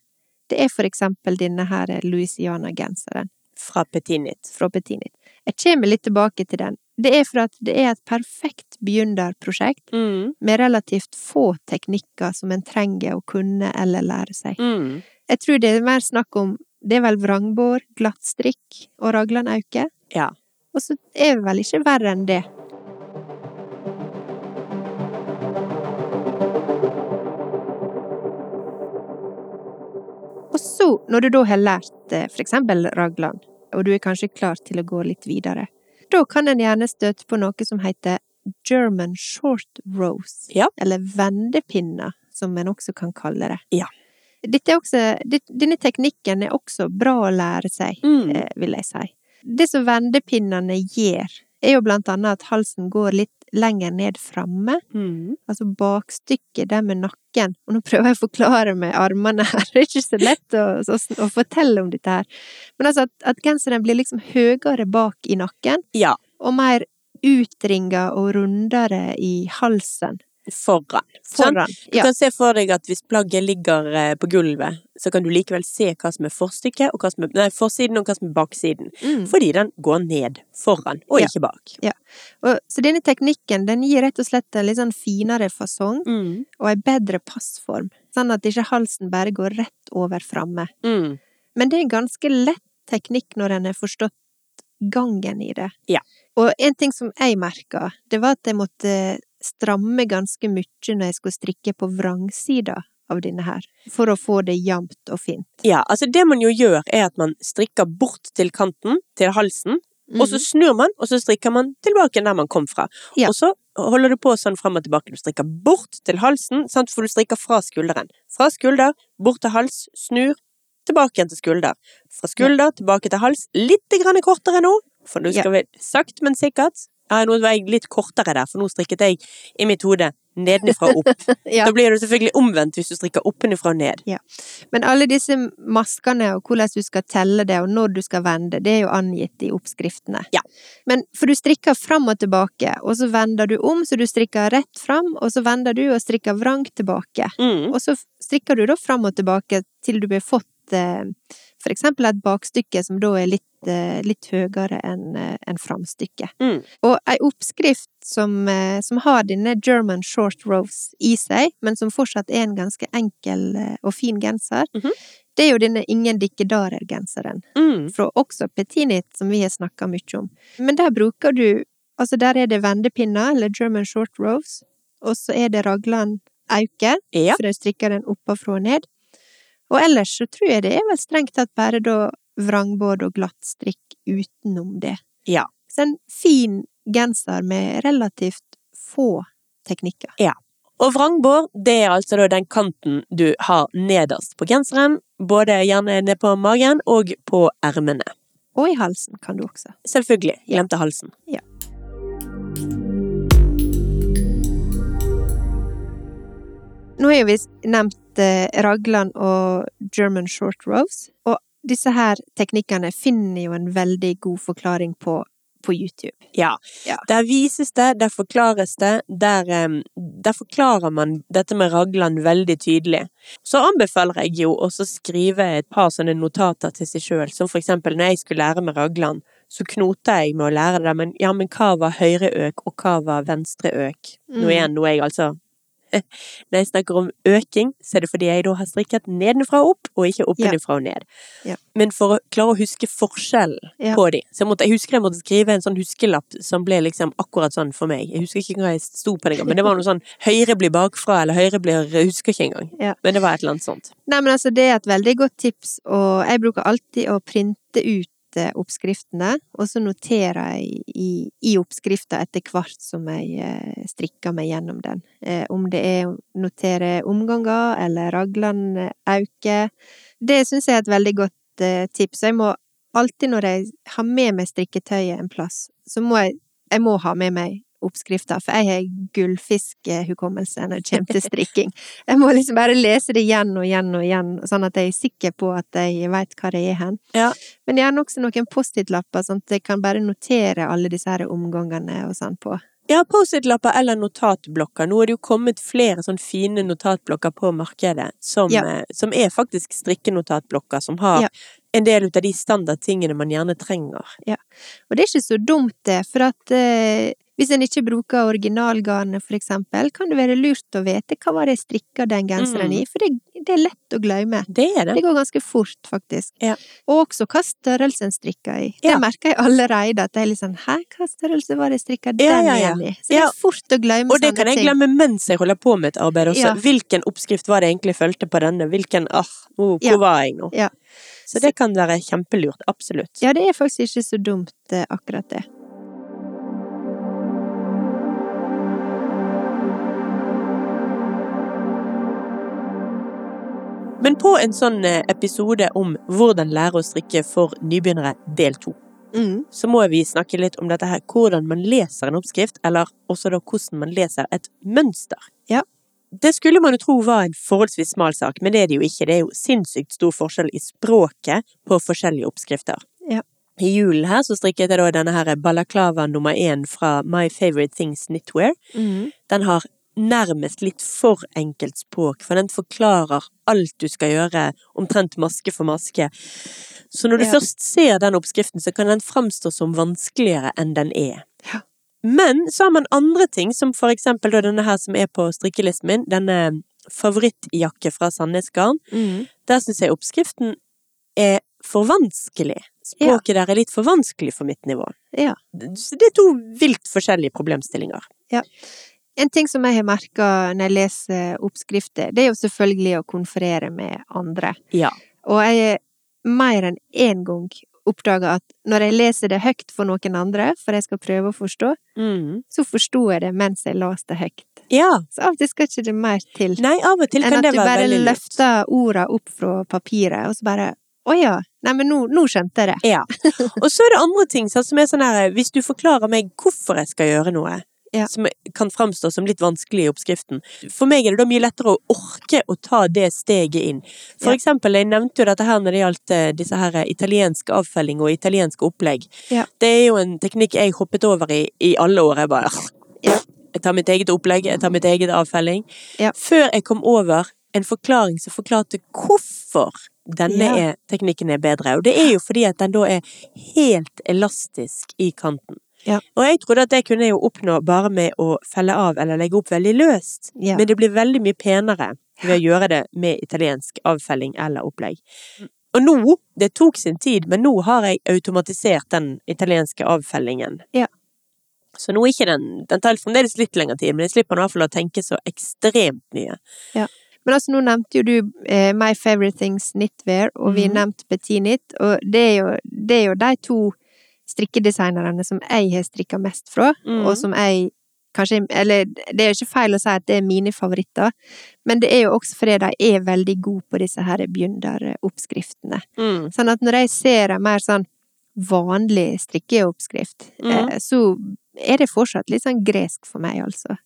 Speaker 2: det er for eksempel denne her Louisiana-genseren
Speaker 1: Fra Petinit.
Speaker 2: fra Petinit. Jeg kommer litt tilbake til den. Det er for at det er et perfekt begynnerprosjekt
Speaker 1: Mm.
Speaker 2: med relativt få teknikker som en trenger å kunne eller lære seg.
Speaker 1: Mm.
Speaker 2: Jeg tror det er mer snakk om Det er vel vrangbår, glattstrikk og raglanauke.
Speaker 1: Ja.
Speaker 2: Og så er det vel ikke verre enn det. Og så, når du da har lært eh, for eksempel raglan, og du er kanskje klar til å gå litt videre, da kan en gjerne støte på noe som heter German short rose,
Speaker 1: Ja.
Speaker 2: eller vendepinner, som en også kan kalle det.
Speaker 1: Ja.
Speaker 2: Dette er også, dit- denne teknikken er også bra å lære seg
Speaker 1: Mm.
Speaker 2: eh, vil jeg si. Det som vendepinnene gjør, er jo blant annet at halsen går litt lenger ned framme,
Speaker 1: Mm.
Speaker 2: altså bakstykket der med nakken. Og nå prøver jeg å forklare med armene her, det er ikke så lett å, å, å fortelle om dette her. Men altså at, at genseren blir liksom høyere bak i nakken,
Speaker 1: Ja.
Speaker 2: og mer utringa og rundere i halsen.
Speaker 1: Foran. Sant?
Speaker 2: Foran.
Speaker 1: Du
Speaker 2: Ja.
Speaker 1: kan se for deg at hvis plagget ligger eh, på gulvet, så kan du likevel se hva som er forstykket, og hva som er, nei, forsiden og hva som er baksiden.
Speaker 2: Mm.
Speaker 1: Fordi den går ned foran, og
Speaker 2: Ja.
Speaker 1: ikke bak.
Speaker 2: Og, så denne teknikken den gir rett og slett en litt sånn finere fasong.
Speaker 1: Mm.
Speaker 2: og ei bedre passform, sånn at ikke halsen bare går rett over framme.
Speaker 1: Mm.
Speaker 2: Men det er en ganske lett teknikk når en har forstått gangen i det.
Speaker 1: Ja.
Speaker 2: Og en ting som jeg merka, det var at jeg måtte stramme ganske mye når jeg skulle strikke på vrangsida av denne her, for å få det jevnt og fint.
Speaker 1: Ja, altså det man jo gjør er at man strikker bort til kanten, til halsen, og
Speaker 2: Mm.
Speaker 1: så snur man, og så strikker man tilbake der man kom fra.
Speaker 2: Ja.
Speaker 1: Og så holder du på sånn frem og tilbake. Du strikker bort til halsen, sant? for du strikker fra skulderen. Fra skulder, bort til hals, snur, tilbake igjen til skulder. Fra skulder, tilbake til hals, litt grann kortere nå, for du
Speaker 2: Ja.
Speaker 1: skal vel sakt, men sikkert. Ja, nå var jeg litt kortere der, for nå strikket jeg i mitt hode nedenifra og opp.
Speaker 2: ja.
Speaker 1: Da blir det selvfølgelig omvendt hvis du strikker oppenifra og ned.
Speaker 2: Men alle disse maskene og hvordan du skal telle det, og når du skal vende, det er jo angitt i oppskriftene.
Speaker 1: Ja.
Speaker 2: Men for du strikker fram og tilbake, og så vender du om, så du strikker rett fram, og så vender du og strikker vrangt tilbake.
Speaker 1: Mm.
Speaker 2: Og så strikker du da fram og tilbake til du har fått eh, for eksempel et bakstykke som da er litt, eh, litt høyere enn eh, enn framstykket.
Speaker 1: Mm.
Speaker 2: Og ei oppskrift som, eh, som har denne German short rose i seg, men som fortsatt er en ganske enkel eh, og fin genser,
Speaker 1: Mhm.
Speaker 2: det er jo denne Ingen Dikkedarer-genseren,
Speaker 1: Mm.
Speaker 2: fra også Petinit, som vi har snakka mye om. Men der bruker du Altså, der er det vendepinner, eller German short rose, og så er det raglan auke,
Speaker 1: Ja.
Speaker 2: for jeg strikker den oppafra og ned. Og ellers så tror jeg det er vel strengt tatt bare da vrangbord og glatt strikk utenom det.
Speaker 1: Ja.
Speaker 2: Så en fin genser med relativt få teknikker.
Speaker 1: Og vrangbår, det er altså da den kanten du har nederst på genseren, både gjerne ned på magen og på ermene.
Speaker 2: Og i halsen kan du også.
Speaker 1: Selvfølgelig. Glemte halsen.
Speaker 2: Ja. Nå har jo vi nevnt eh, raglan og German short rose, og disse her teknikkene finner jo en veldig god forklaring på, på YouTube.
Speaker 1: Ja.
Speaker 2: Ja.
Speaker 1: Der vises det, der forklares det, der, em, der forklarer man dette med raglan veldig tydelig. Så anbefaler jeg jo også å skrive et par sånne notater til seg sjøl, som for eksempel når jeg skulle lære med raglan, så knota jeg med å lære det, men ja, men hva var høyre øk, og hva var venstre øk? Nå
Speaker 2: Mm.
Speaker 1: igjen, nå er jeg altså Når jeg snakker om øking, så er det fordi jeg da har strikket nedenfra og opp, og ikke oppenfra og ned.
Speaker 2: Ja.
Speaker 1: Men for å klare å huske forskjellen
Speaker 2: Ja.
Speaker 1: på de. Så jeg, måtte, jeg husker jeg måtte skrive en sånn huskelapp som ble liksom akkurat sånn for meg. Jeg husker ikke hva jeg sto på den gang, men det var noe sånn høyre blir bakfra, eller høyre blir Jeg husker ikke engang.
Speaker 2: Ja.
Speaker 1: Men det var et eller annet sånt.
Speaker 2: Nei, men altså, det er et veldig godt tips, og jeg bruker alltid å printe ut eh, oppskriftene, og så noterer jeg i, i oppskrifta etter hvert som jeg eh, strikker meg gjennom den. Eh, om det er å notere omganger eller raglan auke. Det syns jeg er et veldig godt eh, tips. Jeg må alltid når jeg har med meg strikketøyet en plass, så må jeg, jeg må ha med meg oppskrifter, for jeg har gullfiskhukommelse når det kommer til strikking. Jeg må liksom bare lese det igjen og igjen og igjen, sånn at jeg er sikker på at jeg veit hva det er hen.
Speaker 1: Ja.
Speaker 2: Men gjerne også noen Post-It-lapper, sånn at jeg kan bare notere alle disse her omgangene og sånn på.
Speaker 1: Ja, Post-It-lapper eller notatblokker. Nå er det jo kommet flere sånn fine notatblokker på markedet, som,
Speaker 2: Ja.
Speaker 1: eh, som er faktisk strikkenotatblokker, som har
Speaker 2: Ja.
Speaker 1: en del ut av de standardtingene man gjerne trenger.
Speaker 2: Og det er ikke så dumt, det, for at eh, hvis en ikke bruker originalgarnet, for eksempel, kan det være lurt å vite hva var det jeg strikka den genseren
Speaker 1: Mm.
Speaker 2: i, for det, det er lett å glemme.
Speaker 1: Det er det.
Speaker 2: Det går ganske fort, faktisk.
Speaker 1: Ja.
Speaker 2: Og også hva størrelse en strikker i. Det
Speaker 1: Ja.
Speaker 2: merker jeg allerede, at jeg er litt sånn Hæ, hva størrelse var det jeg strikka den
Speaker 1: Ja, ja, ja.
Speaker 2: igjen i? Så det
Speaker 1: Ja.
Speaker 2: er fort å glemme
Speaker 1: Og det
Speaker 2: sånne
Speaker 1: kan jeg
Speaker 2: ting.
Speaker 1: glemme mens jeg holder på med et arbeid også.
Speaker 2: Mm, Ja.
Speaker 1: Hvilken oppskrift var det jeg egentlig fulgte på denne? Hvilken, ah, oh, hvor
Speaker 2: Ja.
Speaker 1: var jeg nå?
Speaker 2: Ja.
Speaker 1: Så det kan være kjempelurt. Absolutt.
Speaker 2: Ja, det er faktisk ikke så dumt, eh, akkurat det.
Speaker 1: Men på en sånn eh, episode om hvordan lære å strikke for nybegynnere del to,
Speaker 2: Mm.
Speaker 1: så må vi snakke litt om dette her, hvordan man leser en oppskrift, eller også da hvordan man leser et mønster.
Speaker 2: Ja.
Speaker 1: Det skulle man jo tro var en forholdsvis smal sak, men det er det jo ikke. Det er jo sinnssykt stor forskjell i språket på forskjellige oppskrifter.
Speaker 2: Ja.
Speaker 1: I julen her så strikket jeg da denne her balaklava nummer én fra My Favorite Things Knitwear.
Speaker 2: Mm.
Speaker 1: Den har nærmest litt for enkelt språk, for den forklarer alt du skal gjøre, omtrent maske for maske. Så når du
Speaker 2: Ja.
Speaker 1: først ser den oppskriften, så kan den framstå som vanskeligere enn den er.
Speaker 2: Ja.
Speaker 1: Men så har man andre ting, som for eksempel da denne her som er på strikkelisten min, denne favorittjakke fra Sandnes Garn.
Speaker 2: Mm.
Speaker 1: Der syns jeg oppskriften er for vanskelig. Språket der er litt for vanskelig for mitt nivå.
Speaker 2: Ja.
Speaker 1: Så det er to vilt forskjellige problemstillinger.
Speaker 2: En ting som jeg har merka når jeg leser oppskrifter, det er jo selvfølgelig å konferere med andre.
Speaker 1: Ja.
Speaker 2: Og jeg er mer enn én gang oppdaga at når jeg leser det høyt for noen andre, for jeg skal prøve å forstå,
Speaker 1: Mm.
Speaker 2: så forsto jeg det mens jeg leste det høyt.
Speaker 1: Ja.
Speaker 2: Så av og til skal ikke det mer til
Speaker 1: Nei, av og til
Speaker 2: enn
Speaker 1: kan
Speaker 2: at
Speaker 1: det
Speaker 2: du
Speaker 1: være
Speaker 2: bare
Speaker 1: veldig lurt.
Speaker 2: løfter orda opp fra papiret, og så bare Å ja. Nei, men nå, nå skjønte jeg det.
Speaker 1: Ja. Og så er det andre ting sånn, som er sånn her Hvis du forklarer meg hvorfor jeg skal gjøre noe,
Speaker 2: Ja.
Speaker 1: som kan framstå som litt vanskelig i oppskriften For meg er det da mye lettere å orke å ta det steget inn. For
Speaker 2: Ja.
Speaker 1: eksempel, jeg nevnte jo dette her når det gjaldt eh, disse her eh, italienske avfelling og italienske opplegg.
Speaker 2: Ja.
Speaker 1: Det er jo en teknikk jeg hoppet over i i alle år. Jeg bare
Speaker 2: Ja.
Speaker 1: Jeg tar mitt eget opplegg, jeg tar mitt eget avfelling.
Speaker 2: Ja.
Speaker 1: Før jeg kom over en forklaring som forklarte hvorfor denne
Speaker 2: Ja.
Speaker 1: er, teknikken er bedre. Og det er jo fordi at den da er helt elastisk i kanten.
Speaker 2: Ja.
Speaker 1: Og jeg trodde at det kunne jeg jo oppnå bare med å felle av eller legge opp veldig løst.
Speaker 2: Ja.
Speaker 1: Men det blir veldig mye penere ved å gjøre det med italiensk avfelling eller opplegg.
Speaker 2: Mm.
Speaker 1: Og nå, det tok sin tid, men nå har jeg automatisert den italienske avfellingen.
Speaker 2: Ja.
Speaker 1: Så nå er ikke den, den tar fremdeles litt lengre tid, men jeg slipper i hvert fall å tenke så ekstremt mye.
Speaker 2: Men altså, nå nevnte jo du eh, My Favorite Things Knitwear, og vi
Speaker 1: Mhm.
Speaker 2: nevnte Petit Knit, og det er jo, det er jo de to strikkedesignerne som jeg har strikka mest fra,
Speaker 1: Mhm.
Speaker 2: og som jeg kanskje Eller det er jo ikke feil å si at det er mine favoritter, men det er jo også fordi de er veldig gode på disse her begynneroppskriftene. Sånn at når jeg ser en mer sånn vanlig strikkeoppskrift,
Speaker 1: Mhm.
Speaker 2: eh, så er det fortsatt litt sånn gresk for meg, altså.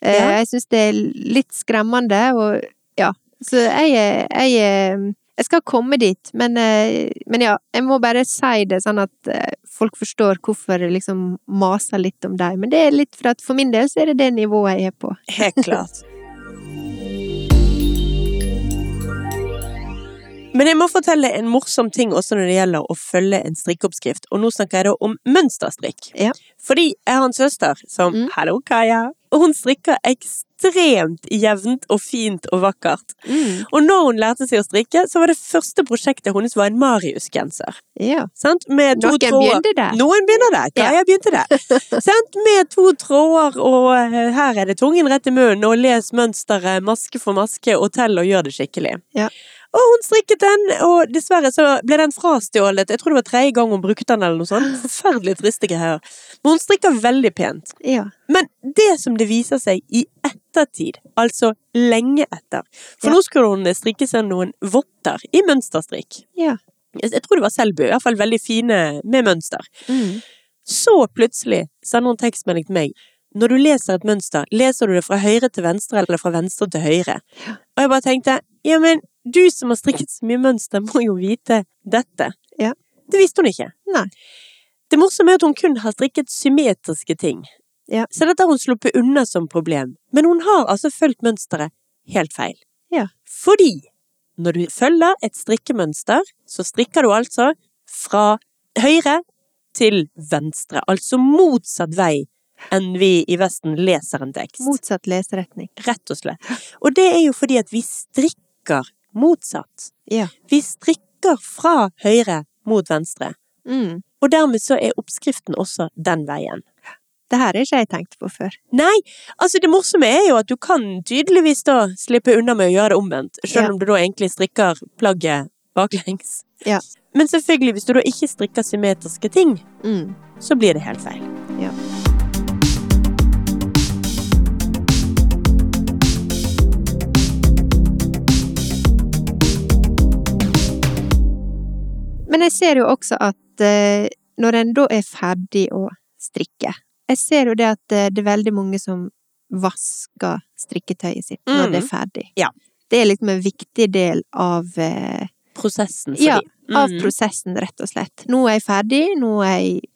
Speaker 2: Eh,
Speaker 1: Ja.
Speaker 2: Jeg syns det er litt skremmende, og ja. Så jeg, eh, jeg eh, Jeg skal komme dit, men, eh, men ja, jeg må bare si det sånn at eh, folk forstår hvorfor jeg liksom maser litt om dem. Men det er litt for at for min del så er det det nivået jeg er på.
Speaker 1: Helt klart. Men jeg må fortelle en morsom ting også når det gjelder å følge en strikkeoppskrift. Og nå snakker jeg da om mønsterstrikk.
Speaker 2: Ja.
Speaker 1: Fordi jeg har en søster som
Speaker 2: Mm.
Speaker 1: Hallo, Kaja. Og hun strikker ekstremt jevnt og fint og vakkert.
Speaker 2: Mm.
Speaker 1: Og når hun lærte seg å strikke, så var det første prosjektet hennes var en Marius-genser.
Speaker 2: Ja.
Speaker 1: Sant? Med to
Speaker 2: Noen
Speaker 1: tråder.
Speaker 2: begynte der.
Speaker 1: Noen begynner der. Kaja begynte der. Sant? Med to tråder, og eh, her er det tungen rett i munnen, og les mønsteret maske for maske, og tell og gjør det skikkelig.
Speaker 2: Ja.
Speaker 1: Og hun strikket den, og dessverre så ble den frastjålet. Jeg tror det var tredje gang hun brukte den, eller noe sånt. Forferdelig triste greier. Men hun strikker veldig pent.
Speaker 2: Ja.
Speaker 1: Men det som det viser seg i ettertid, altså lenge etter For
Speaker 2: Ja.
Speaker 1: nå skulle hun strikke seg noen votter i mønsterstrikk.
Speaker 2: Ja.
Speaker 1: Jeg tror det var Selbu. I hvert fall veldig fine med mønster.
Speaker 2: Mm.
Speaker 1: Så plutselig sender hun tekstmelding til meg. Når du leser et mønster, leser du det fra høyre til venstre eller fra venstre til høyre? Og jeg bare tenkte, ja, men du som har strikket så mye mønster, må jo vite dette.
Speaker 2: Ja.
Speaker 1: Det visste hun ikke.
Speaker 2: Nei.
Speaker 1: Det morsomme er at hun kun har strikket symmetriske ting.
Speaker 2: Ja.
Speaker 1: Så dette har hun sluppet unna som problem. Men hun har altså fulgt mønsteret helt feil.
Speaker 2: Ja.
Speaker 1: Fordi når du følger et strikkemønster, så strikker du altså fra høyre til venstre. Altså motsatt vei enn vi i Vesten leser en tekst.
Speaker 2: Motsatt leseretning.
Speaker 1: Rett og slett. Og det er jo fordi at vi strikker motsatt.
Speaker 2: Ja.
Speaker 1: Vi strikker fra høyre mot venstre.
Speaker 2: Mm.
Speaker 1: Og dermed så er oppskriften også den veien.
Speaker 2: Det her har ikke jeg tenkt på før.
Speaker 1: Nei, altså det morsomme er jo at du kan tydeligvis da slippe unna med å gjøre det omvendt, selv
Speaker 2: Ja.
Speaker 1: om du da egentlig strikker plagget baklengs.
Speaker 2: Ja.
Speaker 1: Men selvfølgelig, hvis du da ikke strikker symmetriske ting,
Speaker 2: Mm.
Speaker 1: så blir det helt feil.
Speaker 2: Ja. Men jeg ser jo også at eh, når en da er ferdig å strikke Jeg ser jo det at eh, det er veldig mange som vasker strikketøyet sitt når
Speaker 1: Mm.
Speaker 2: det er ferdig.
Speaker 1: Ja.
Speaker 2: Det er liksom en viktig del av, eh,
Speaker 1: Prosessen for
Speaker 2: ja,
Speaker 1: de.
Speaker 2: av
Speaker 1: Mm.
Speaker 2: prosessen, rett og slett. Nå er jeg ferdig, nå er jeg,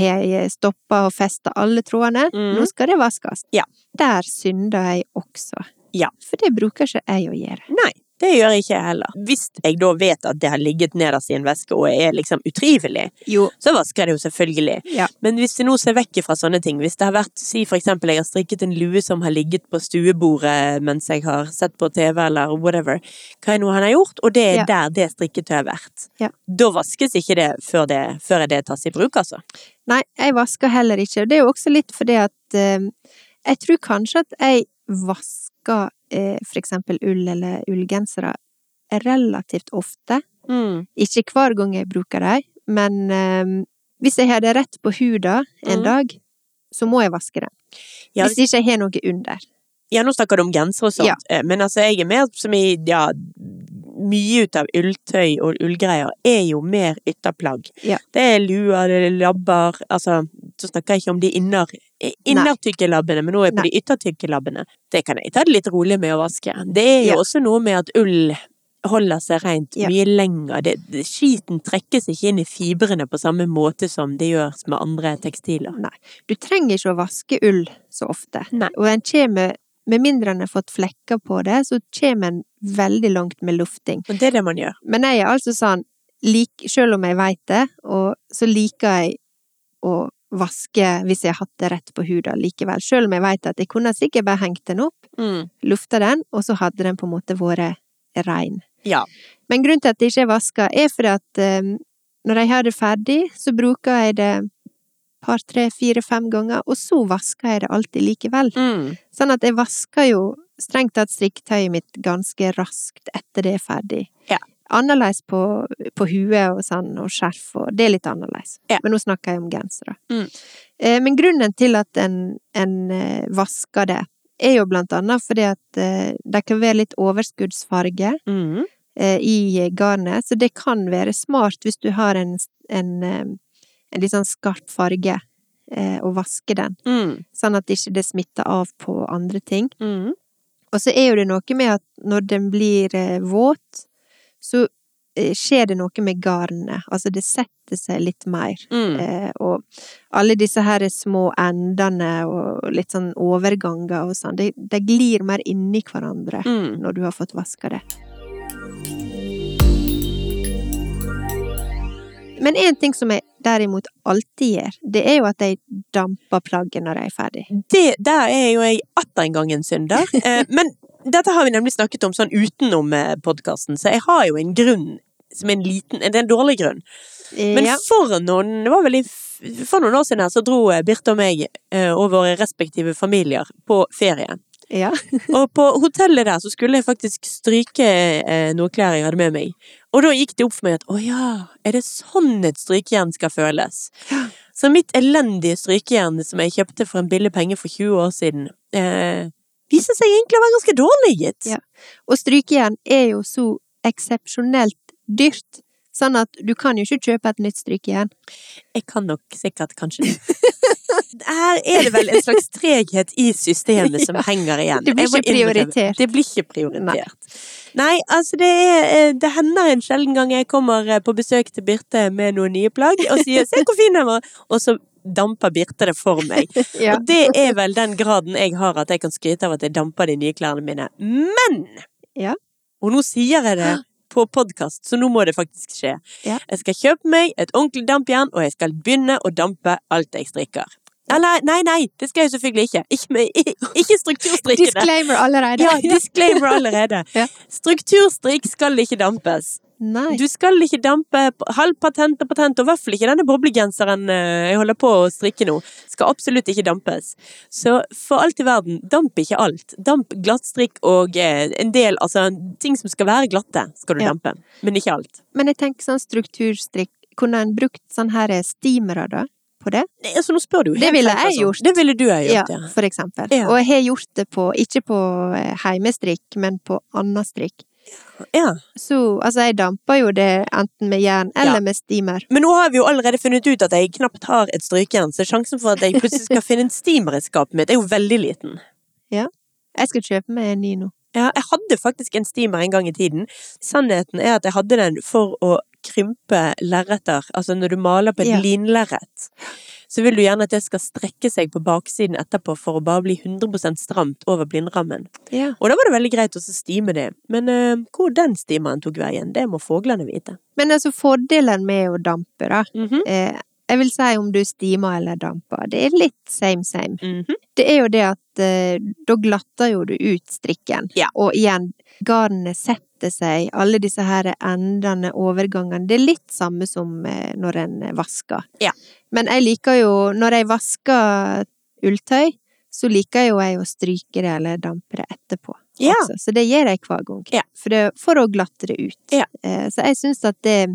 Speaker 2: har jeg stoppa og festa alle trådene,
Speaker 1: Mm.
Speaker 2: nå skal det vaskes.
Speaker 1: Ja.
Speaker 2: Der synder jeg også.
Speaker 1: Ja.
Speaker 2: For det bruker ikke jeg å gjøre.
Speaker 1: Nei, det gjør jeg ikke heller. Hvis jeg da vet at det har ligget nederst i en veske og er liksom utrivelig,
Speaker 2: Jo.
Speaker 1: så vasker jeg det jo selvfølgelig.
Speaker 2: Ja.
Speaker 1: Men hvis jeg nå ser vekk fra sånne ting, hvis det har vært, si for eksempel jeg har strikket en lue som har ligget på stuebordet mens jeg har sett på TV eller whatever, hva er noe han har gjort, og det er
Speaker 2: Ja.
Speaker 1: der det strikketøyet har vært.
Speaker 2: Ja.
Speaker 1: Da vaskes ikke det før det, før det tas i bruk, altså.
Speaker 2: Nei, jeg vasker heller ikke. Og det er jo også litt fordi at eh, Jeg tror kanskje at jeg vasker eh, for eksempel ull eller ullgensere relativt ofte. Ikke hver gang jeg bruker dem, men eh, hvis jeg har det rett på huden en
Speaker 1: Mm.
Speaker 2: dag, så må jeg vaske den.
Speaker 1: Ja,
Speaker 2: Hvis ikke jeg har noe under.
Speaker 1: Ja, nå snakker du om genser og sånt,
Speaker 2: Ja.
Speaker 1: eh, men altså jeg er mer som i, ja, mye ut av ulltøy og ullgreier er jo mer ytterplagg.
Speaker 2: Ja.
Speaker 1: Det er luer, det er labber, altså, så snakker jeg ikke om de inner, eh, innertykke labbene, men nå er jeg på de yttertykke labbene. Det kan jeg ta det litt rolig med å vaske. Det er jo
Speaker 2: Ja.
Speaker 1: også noe med at ull holder seg rent
Speaker 2: Ja.
Speaker 1: mye lenger. Det, det, skiten trekkes ikke inn i fibrene på samme måte som det gjøres med andre tekstiler.
Speaker 2: Nei. Du trenger ikke å vaske ull så ofte.
Speaker 1: Nei.
Speaker 2: Og en kommer, med mindre en har fått flekker på det, så kommer en veldig langt med lufting.
Speaker 1: Og det er det man gjør.
Speaker 2: Men jeg er altså sånn, lik, selv om jeg vet det, og så liker jeg å vaske hvis jeg har hatt det rett på huden likevel. Selv om jeg vet at jeg kunne sikkert bare hengt den opp,
Speaker 1: Mm,
Speaker 2: lufta den, og så hadde den på en måte vært rein.
Speaker 1: Ja.
Speaker 2: Men grunnen til at jeg ikke er vasker er fordi at eh, når jeg har det ferdig, så bruker jeg det par, tre, fire, fem ganger, og så vasker jeg det alltid likevel.
Speaker 1: mm,
Speaker 2: Sånn at jeg vasker jo strengt tatt strikketøyet mitt ganske raskt etter det er ferdig.
Speaker 1: Ja.
Speaker 2: Annerledes på, på huet og sånn, og skjerf og Det er litt annerledes.
Speaker 1: Ja.
Speaker 2: Men nå snakker jeg om gensere.
Speaker 1: Mm.
Speaker 2: Eh, men grunnen til at en, en eh, vasker det, er jo blant annet fordi at eh, det kan være litt overskuddsfarge
Speaker 1: Mm.
Speaker 2: eh, i garnet, så det kan være smart hvis du har en, en, eh, en litt sånn skarp farge, eh, å vaske den,
Speaker 1: Mm.
Speaker 2: sånn at ikke det smitter av på andre ting.
Speaker 1: Mm.
Speaker 2: Og så er jo det noe med at når den blir eh, våt, så eh, skjer det noe med garnet. Altså det setter seg litt mer.
Speaker 1: Mm.
Speaker 2: Eh, og alle disse her små endene og litt sånn overganger og sånn, det, det glir mer inni hverandre
Speaker 1: Mm.
Speaker 2: når du har fått vaska det. Men én ting som jeg derimot alltid gjør, det er jo at jeg damper plagget når jeg er ferdig.
Speaker 1: Det, der er jo jeg atter en gang en synder. Eh, men dette har vi nemlig snakket om sånn utenom podkasten, så jeg har jo en grunn som er en liten Det er en dårlig grunn. Men
Speaker 2: Eh, ja.
Speaker 1: for noen det var vel i, f- for noen år siden her, så dro eh, Birte og meg eh, og våre respektive familier på ferie.
Speaker 2: ja.
Speaker 1: Og på hotellet der så skulle jeg faktisk stryke eh, noe klær jeg hadde med meg. Og da gikk det opp for meg at å ja, er det sånn et strykejern skal føles? Så mitt elendige strykejern som jeg kjøpte for en billig penge for 20 år siden, eh, viser seg egentlig å være ganske dårlig, gitt.
Speaker 2: Ja. Og strykejern er jo så eksepsjonelt dyrt, sånn at du kan jo ikke kjøpe et nytt strykejern.
Speaker 1: Jeg kan nok sikkert kanskje Her er det vel en slags treghet i systemet som henger igjen.
Speaker 2: Det blir
Speaker 1: Jeg må
Speaker 2: ikke
Speaker 1: innrømme,
Speaker 2: prioritert.
Speaker 1: Det blir ikke prioritert. Nei, altså det, er, eh, det hender en sjelden gang jeg kommer eh, på besøk til Birte med noen nye plagg og sier 'se hvor fin den var', og så damper Birte det for meg.
Speaker 2: Ja.
Speaker 1: Og det er vel den graden jeg har at jeg kan skryte av at jeg damper de nye klærne mine. Men!
Speaker 2: Ja.
Speaker 1: Og nå sier jeg det på podkast, så nå må det faktisk skje.
Speaker 2: Ja.
Speaker 1: Jeg skal kjøpe meg et ordentlig dampjern, og jeg skal begynne å dampe alt jeg strikker. Eller, nei, nei, det skal jeg selvfølgelig ikke. Ikke, med, ikke strukturstrikkene.
Speaker 2: Disclaimer allerede.
Speaker 1: Ja, disclaimer allerede.
Speaker 2: Ja.
Speaker 1: Strukturstrikk skal ikke dampes.
Speaker 2: Nei.
Speaker 1: Du skal ikke dampe p- halv patent og patent, og i hvert fall ikke denne boblegenseren eh, jeg holder på å strikke nå. Skal absolutt ikke dampes. Så for alt i verden, damp ikke alt. Damp glattstrikk og eh, en del, altså ting som skal være glatte, skal du
Speaker 2: Ja.
Speaker 1: dampe. Men ikke alt.
Speaker 2: Men jeg tenker sånn strukturstrikk, kunne en brukt sånn her steamere da, på det?
Speaker 1: Nei, altså nå spør du jo
Speaker 2: Det
Speaker 1: helt
Speaker 2: ville
Speaker 1: feil,
Speaker 2: jeg
Speaker 1: altså.
Speaker 2: gjort.
Speaker 1: Det ville du ha gjort, ja.
Speaker 2: for eksempel.
Speaker 1: Ja.
Speaker 2: Og jeg har gjort det på, ikke på eh, heimestrikk, men på anna strikk.
Speaker 1: ja.
Speaker 2: Så, altså, jeg damper jo det enten med jern eller
Speaker 1: Ja.
Speaker 2: med steamer.
Speaker 1: Men nå har vi jo allerede funnet ut at jeg knapt har et strykejern, så sjansen for at jeg plutselig skal finne en steamer i skapet mitt, er jo veldig liten.
Speaker 2: Jeg skal kjøpe meg en ny nå.
Speaker 1: Ja, jeg hadde faktisk en steamer en gang i tiden. Sannheten er at jeg hadde den for å krympe lerreter. Altså når du maler på et
Speaker 2: Ja.
Speaker 1: linlerret, så vil du gjerne at det skal strekke seg på baksiden etterpå for å bare bli 100 stramt over blindrammen.
Speaker 2: Ja.
Speaker 1: Og da var det veldig greit å så stime det. Men eh, hvor den steameren tok veien, det må fuglene vite.
Speaker 2: Men altså, fordelen med å dampe, da
Speaker 1: Mhm.
Speaker 2: eh, Jeg vil si om du steamer eller damper, det er litt same same.
Speaker 1: Mhm.
Speaker 2: Det er jo det at eh, da glatter jo du ut strikken.
Speaker 1: Ja.
Speaker 2: Og igjen, garnene setter seg, alle disse her endene, overgangene. Det er litt samme som eh, når en vasker.
Speaker 1: Ja.
Speaker 2: Men jeg liker jo, når jeg vasker ulltøy, så liker jo jeg å stryke det eller dampe det etterpå.
Speaker 1: Ja.
Speaker 2: også. Så det gjør jeg hver gang.
Speaker 1: Ja.
Speaker 2: For, det, for å glatte det ut.
Speaker 1: Ja.
Speaker 2: Eh, Så jeg syns at det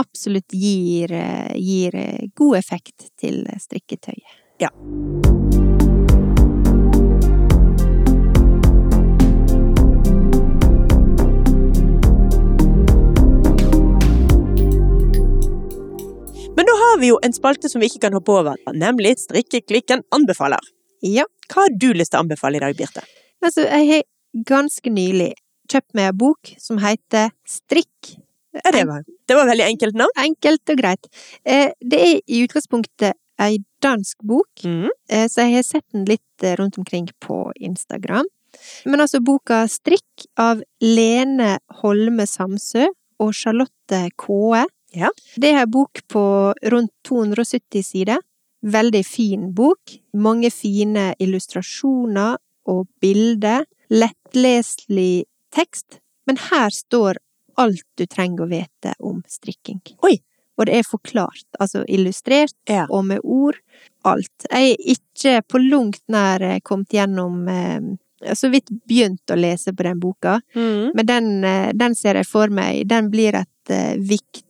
Speaker 2: absolutt gir, eh, gir eh, god effekt til eh, strikketøyet.
Speaker 1: Men nå har vi jo en spalte som vi ikke kan hoppe over, nemlig Strikkeklikken anbefaler.
Speaker 2: Ja.
Speaker 1: Hva har du lyst til å anbefale i dag, Birte?
Speaker 2: Altså, jeg har ganske nylig kjøpt meg en bok som heter Strikk.
Speaker 1: Ja, det, var, det var veldig enkelt navn.
Speaker 2: Enkelt og greit. Eh, Det er i utgangspunktet ei dansk bok, eh, så jeg har sett den litt eh, rundt omkring på Instagram. Men altså boka Strikk av Lene Holme Samsø og Charlotte Kåe.
Speaker 1: Ja.
Speaker 2: Det er ei bok på rundt 270 sider. Veldig fin bok. Mange fine illustrasjoner og bilder. Lettleselig tekst. Men her står alt du trenger å vite om strikking.
Speaker 1: Oi.
Speaker 2: Og det er forklart, altså illustrert
Speaker 1: Ja.
Speaker 2: og med ord. Alt. Jeg er ikke på langt nær eh, kommet gjennom eh, Så vidt begynt å lese på den boka.
Speaker 1: Mhm.
Speaker 2: Men den, eh, den ser jeg for meg. Den blir et eh, viktig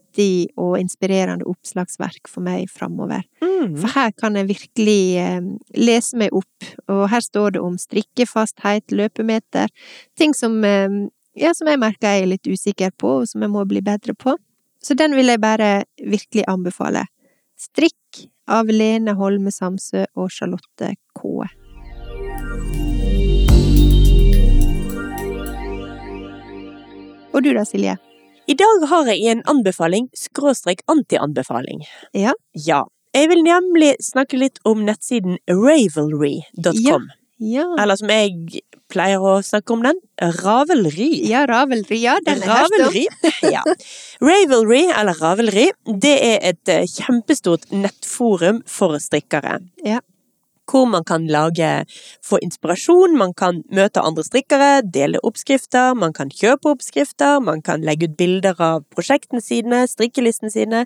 Speaker 2: og inspirerende oppslagsverk for meg framover.
Speaker 1: Mm.
Speaker 2: For her kan jeg virkelig eh, lese meg opp, og her står det om strikkefasthet, løpemeter, ting som, eh, ja, som jeg merker jeg er litt usikker på, og som jeg må bli bedre på. Så den vil jeg bare virkelig anbefale. Strikk av Lene Holme Samsø og Charlotte Kåe. Og du da, Silje?
Speaker 1: I dag har jeg en anbefaling, skråstrek anti-anbefaling.
Speaker 2: Ja.
Speaker 1: Ja. Jeg vil nemlig snakke litt om nettsiden ravelry.com.
Speaker 2: Ja,
Speaker 1: Eller som jeg pleier å snakke om den, Ravelry.
Speaker 2: ja Ravelry. Ja, den er her stå.
Speaker 1: Ravelry. Ja. Ravelry, eller Ravelry, det er et eh, kjempestort nettforum for strikkere.
Speaker 2: Ja.
Speaker 1: Hvor man kan lage, få inspirasjon, man kan møte andre strikkere, dele oppskrifter, man kan kjøpe oppskrifter, man kan legge ut bilder av prosjektene sine, strikkelistene sine.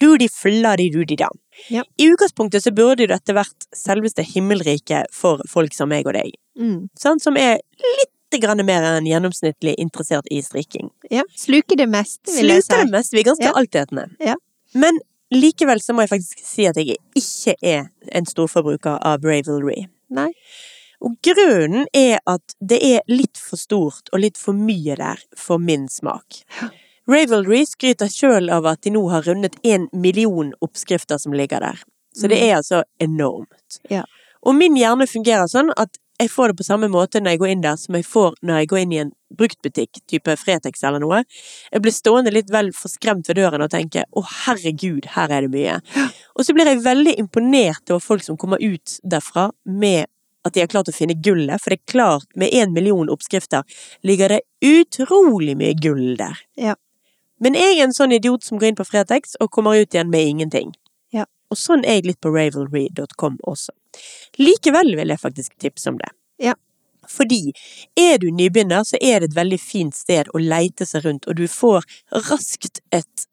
Speaker 1: Doody fladdy doody da.
Speaker 2: Ja.
Speaker 1: I utgangspunktet så burde jo dette vært selveste himmelriket for folk som meg og deg
Speaker 2: Mm.
Speaker 1: sant, som er litt grann mer enn gjennomsnittlig interessert i strikking.
Speaker 2: Ja. Sluker det meste, vil jeg si.
Speaker 1: Sluter det mest, vi kan stå
Speaker 2: Ja.
Speaker 1: altetende.
Speaker 2: Ja.
Speaker 1: Men likevel så må jeg faktisk si at jeg ikke er en storforbruker av Ravelry.
Speaker 2: Nei.
Speaker 1: Og grunnen er at det er litt for stort og litt for mye der for min smak. Ravelry skryter sjøl av at de nå har rundet én million oppskrifter som ligger der. Så det er altså enormt.
Speaker 2: Ja.
Speaker 1: Og min hjerne fungerer sånn at jeg får det på samme måte når jeg går inn der som jeg får når jeg går inn i en bruktbutikk, type Fretex eller noe. Jeg blir stående litt vel forskremt ved døren og tenke 'Å, herregud, her er det mye'. Og så blir jeg veldig imponert over folk som kommer ut derfra med at de har klart å finne gullet, for det er klart, med én million oppskrifter ligger det utrolig mye gull der.
Speaker 2: Ja.
Speaker 1: Men jeg er en sånn idiot som går inn på Fretex og kommer ut igjen med ingenting.
Speaker 2: Ja.
Speaker 1: Og sånn er jeg litt på ravelry.com også. Likevel vil jeg faktisk tipse om det.
Speaker 2: Ja.
Speaker 1: Fordi er du nybegynner, så er det et veldig fint sted å leite seg rundt, og du får raskt et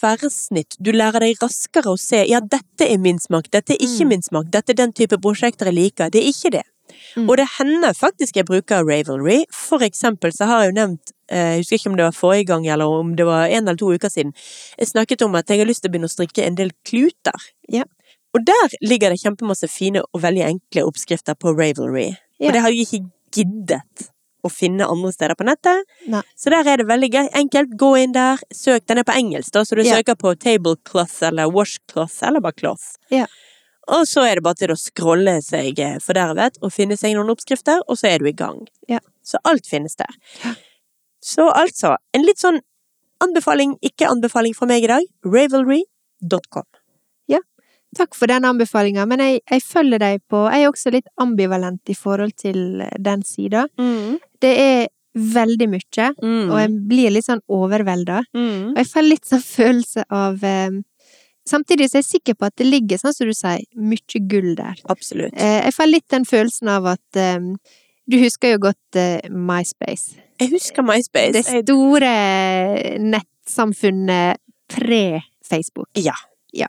Speaker 1: tverrsnitt. Du lærer deg raskere å se ja, dette er min smak, dette er ikke
Speaker 2: Mm.
Speaker 1: min smak, dette er den type prosjekter jeg liker, det er ikke det.
Speaker 2: Mm.
Speaker 1: Og det hender faktisk jeg bruker Ravelry. For eksempel så har jeg jo nevnt, eh, jeg husker ikke om det var forrige gang eller om det var en eller to uker siden, jeg snakket om at jeg har lyst til å begynne å strikke en del kluter.
Speaker 2: Ja.
Speaker 1: Og der ligger det kjempemasse fine og veldig enkle oppskrifter på Ravelry.
Speaker 2: Ja.
Speaker 1: Og det har jeg ikke giddet å finne andre steder på nettet.
Speaker 2: Nei.
Speaker 1: Så der er det veldig gøy. enkelt. Gå inn der, søk. Den er på engelsk, da, så du
Speaker 2: Ja.
Speaker 1: søker på tablecloth eller washcloth eller bare cloth.
Speaker 2: Ja.
Speaker 1: Og så er det bare til å scrolle seg eh, fordervet og finne seg noen oppskrifter, og så er du i gang.
Speaker 2: Ja.
Speaker 1: Så alt finnes der.
Speaker 2: Ja.
Speaker 1: Så altså, en litt sånn anbefaling, ikke anbefaling fra meg i dag, ravelry.com.
Speaker 2: Takk for den anbefalinga, men jeg, jeg følger deg på Jeg er også litt ambivalent i forhold til eh, den sida. Det er veldig mye,
Speaker 1: Mm.
Speaker 2: Mm. og jeg blir litt sånn overvelda.
Speaker 1: Mm.
Speaker 2: Og jeg får litt sånn følelse av eh, Samtidig så er jeg sikker på at det ligger, sånn som du sier, mye gull der.
Speaker 1: Absolutt.
Speaker 2: Eh, jeg får litt den følelsen av at eh, Du husker jo godt eh, MySpace.
Speaker 1: Jeg husker MySpace.
Speaker 2: Det
Speaker 1: Jeg-
Speaker 2: store nettsamfunnet pre-Facebook.
Speaker 1: Ja.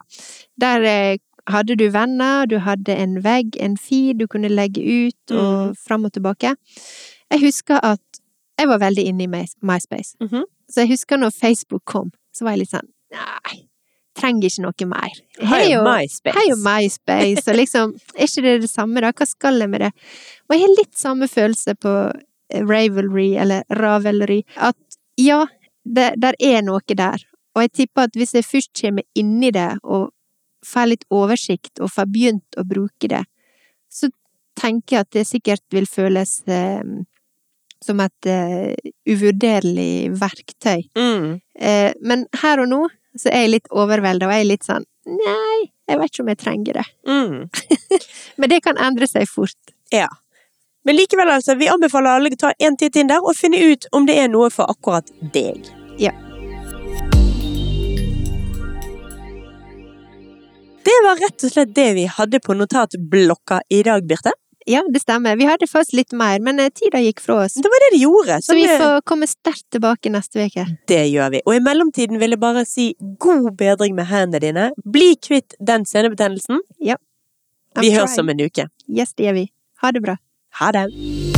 Speaker 2: Der eh, hadde du venner, du hadde en vegg, en feed du kunne legge ut
Speaker 1: Mm.
Speaker 2: og fram og tilbake. Jeg husker at jeg var veldig inne i My- MySpace.
Speaker 1: Mhm.
Speaker 2: Så jeg husker når Facebook kom, så var jeg litt sånn Nei, trenger ikke noe mer.
Speaker 1: Hei,
Speaker 2: Hei og-
Speaker 1: MySpace.
Speaker 2: Hei og MySpace, og liksom Er ikke det det samme, da? Hva skal jeg med det? Og jeg har litt samme følelse på eh, Ravelry, eller Ravelry, at ja, det, der er noe der. Og jeg tipper at hvis jeg først kommer inni det, og får litt oversikt, og får begynt å bruke det, så tenker jeg at det sikkert vil føles eh, som et eh, uvurderlig verktøy.
Speaker 1: Mm.
Speaker 2: Eh, men her og nå så er jeg litt overvelda, og jeg er litt sånn Nei, jeg vet ikke om jeg trenger det.
Speaker 1: Mm.
Speaker 2: Men det kan endre seg fort.
Speaker 1: Ja. Men likevel, altså, vi anbefaler alle å ta en titt inn der og finne ut om det er noe for akkurat deg.
Speaker 2: Ja.
Speaker 1: Det var rett og slett det vi hadde på notatblokka i dag, Birte.
Speaker 2: Ja, det stemmer. Vi hadde faktisk litt mer, men eh, tida gikk fra oss. eh,
Speaker 1: Det var det de gjorde.
Speaker 2: Så vi
Speaker 1: det-
Speaker 2: får komme sterkt tilbake neste uke.
Speaker 1: Det gjør vi. Og i mellomtiden vil jeg bare si god bedring med hendene dine. Bli kvitt den senebetennelsen.
Speaker 2: I'm
Speaker 1: Vi høres
Speaker 2: trying.
Speaker 1: om en uke.
Speaker 2: Yes, det gjør vi. Ha det bra.
Speaker 1: Ha det.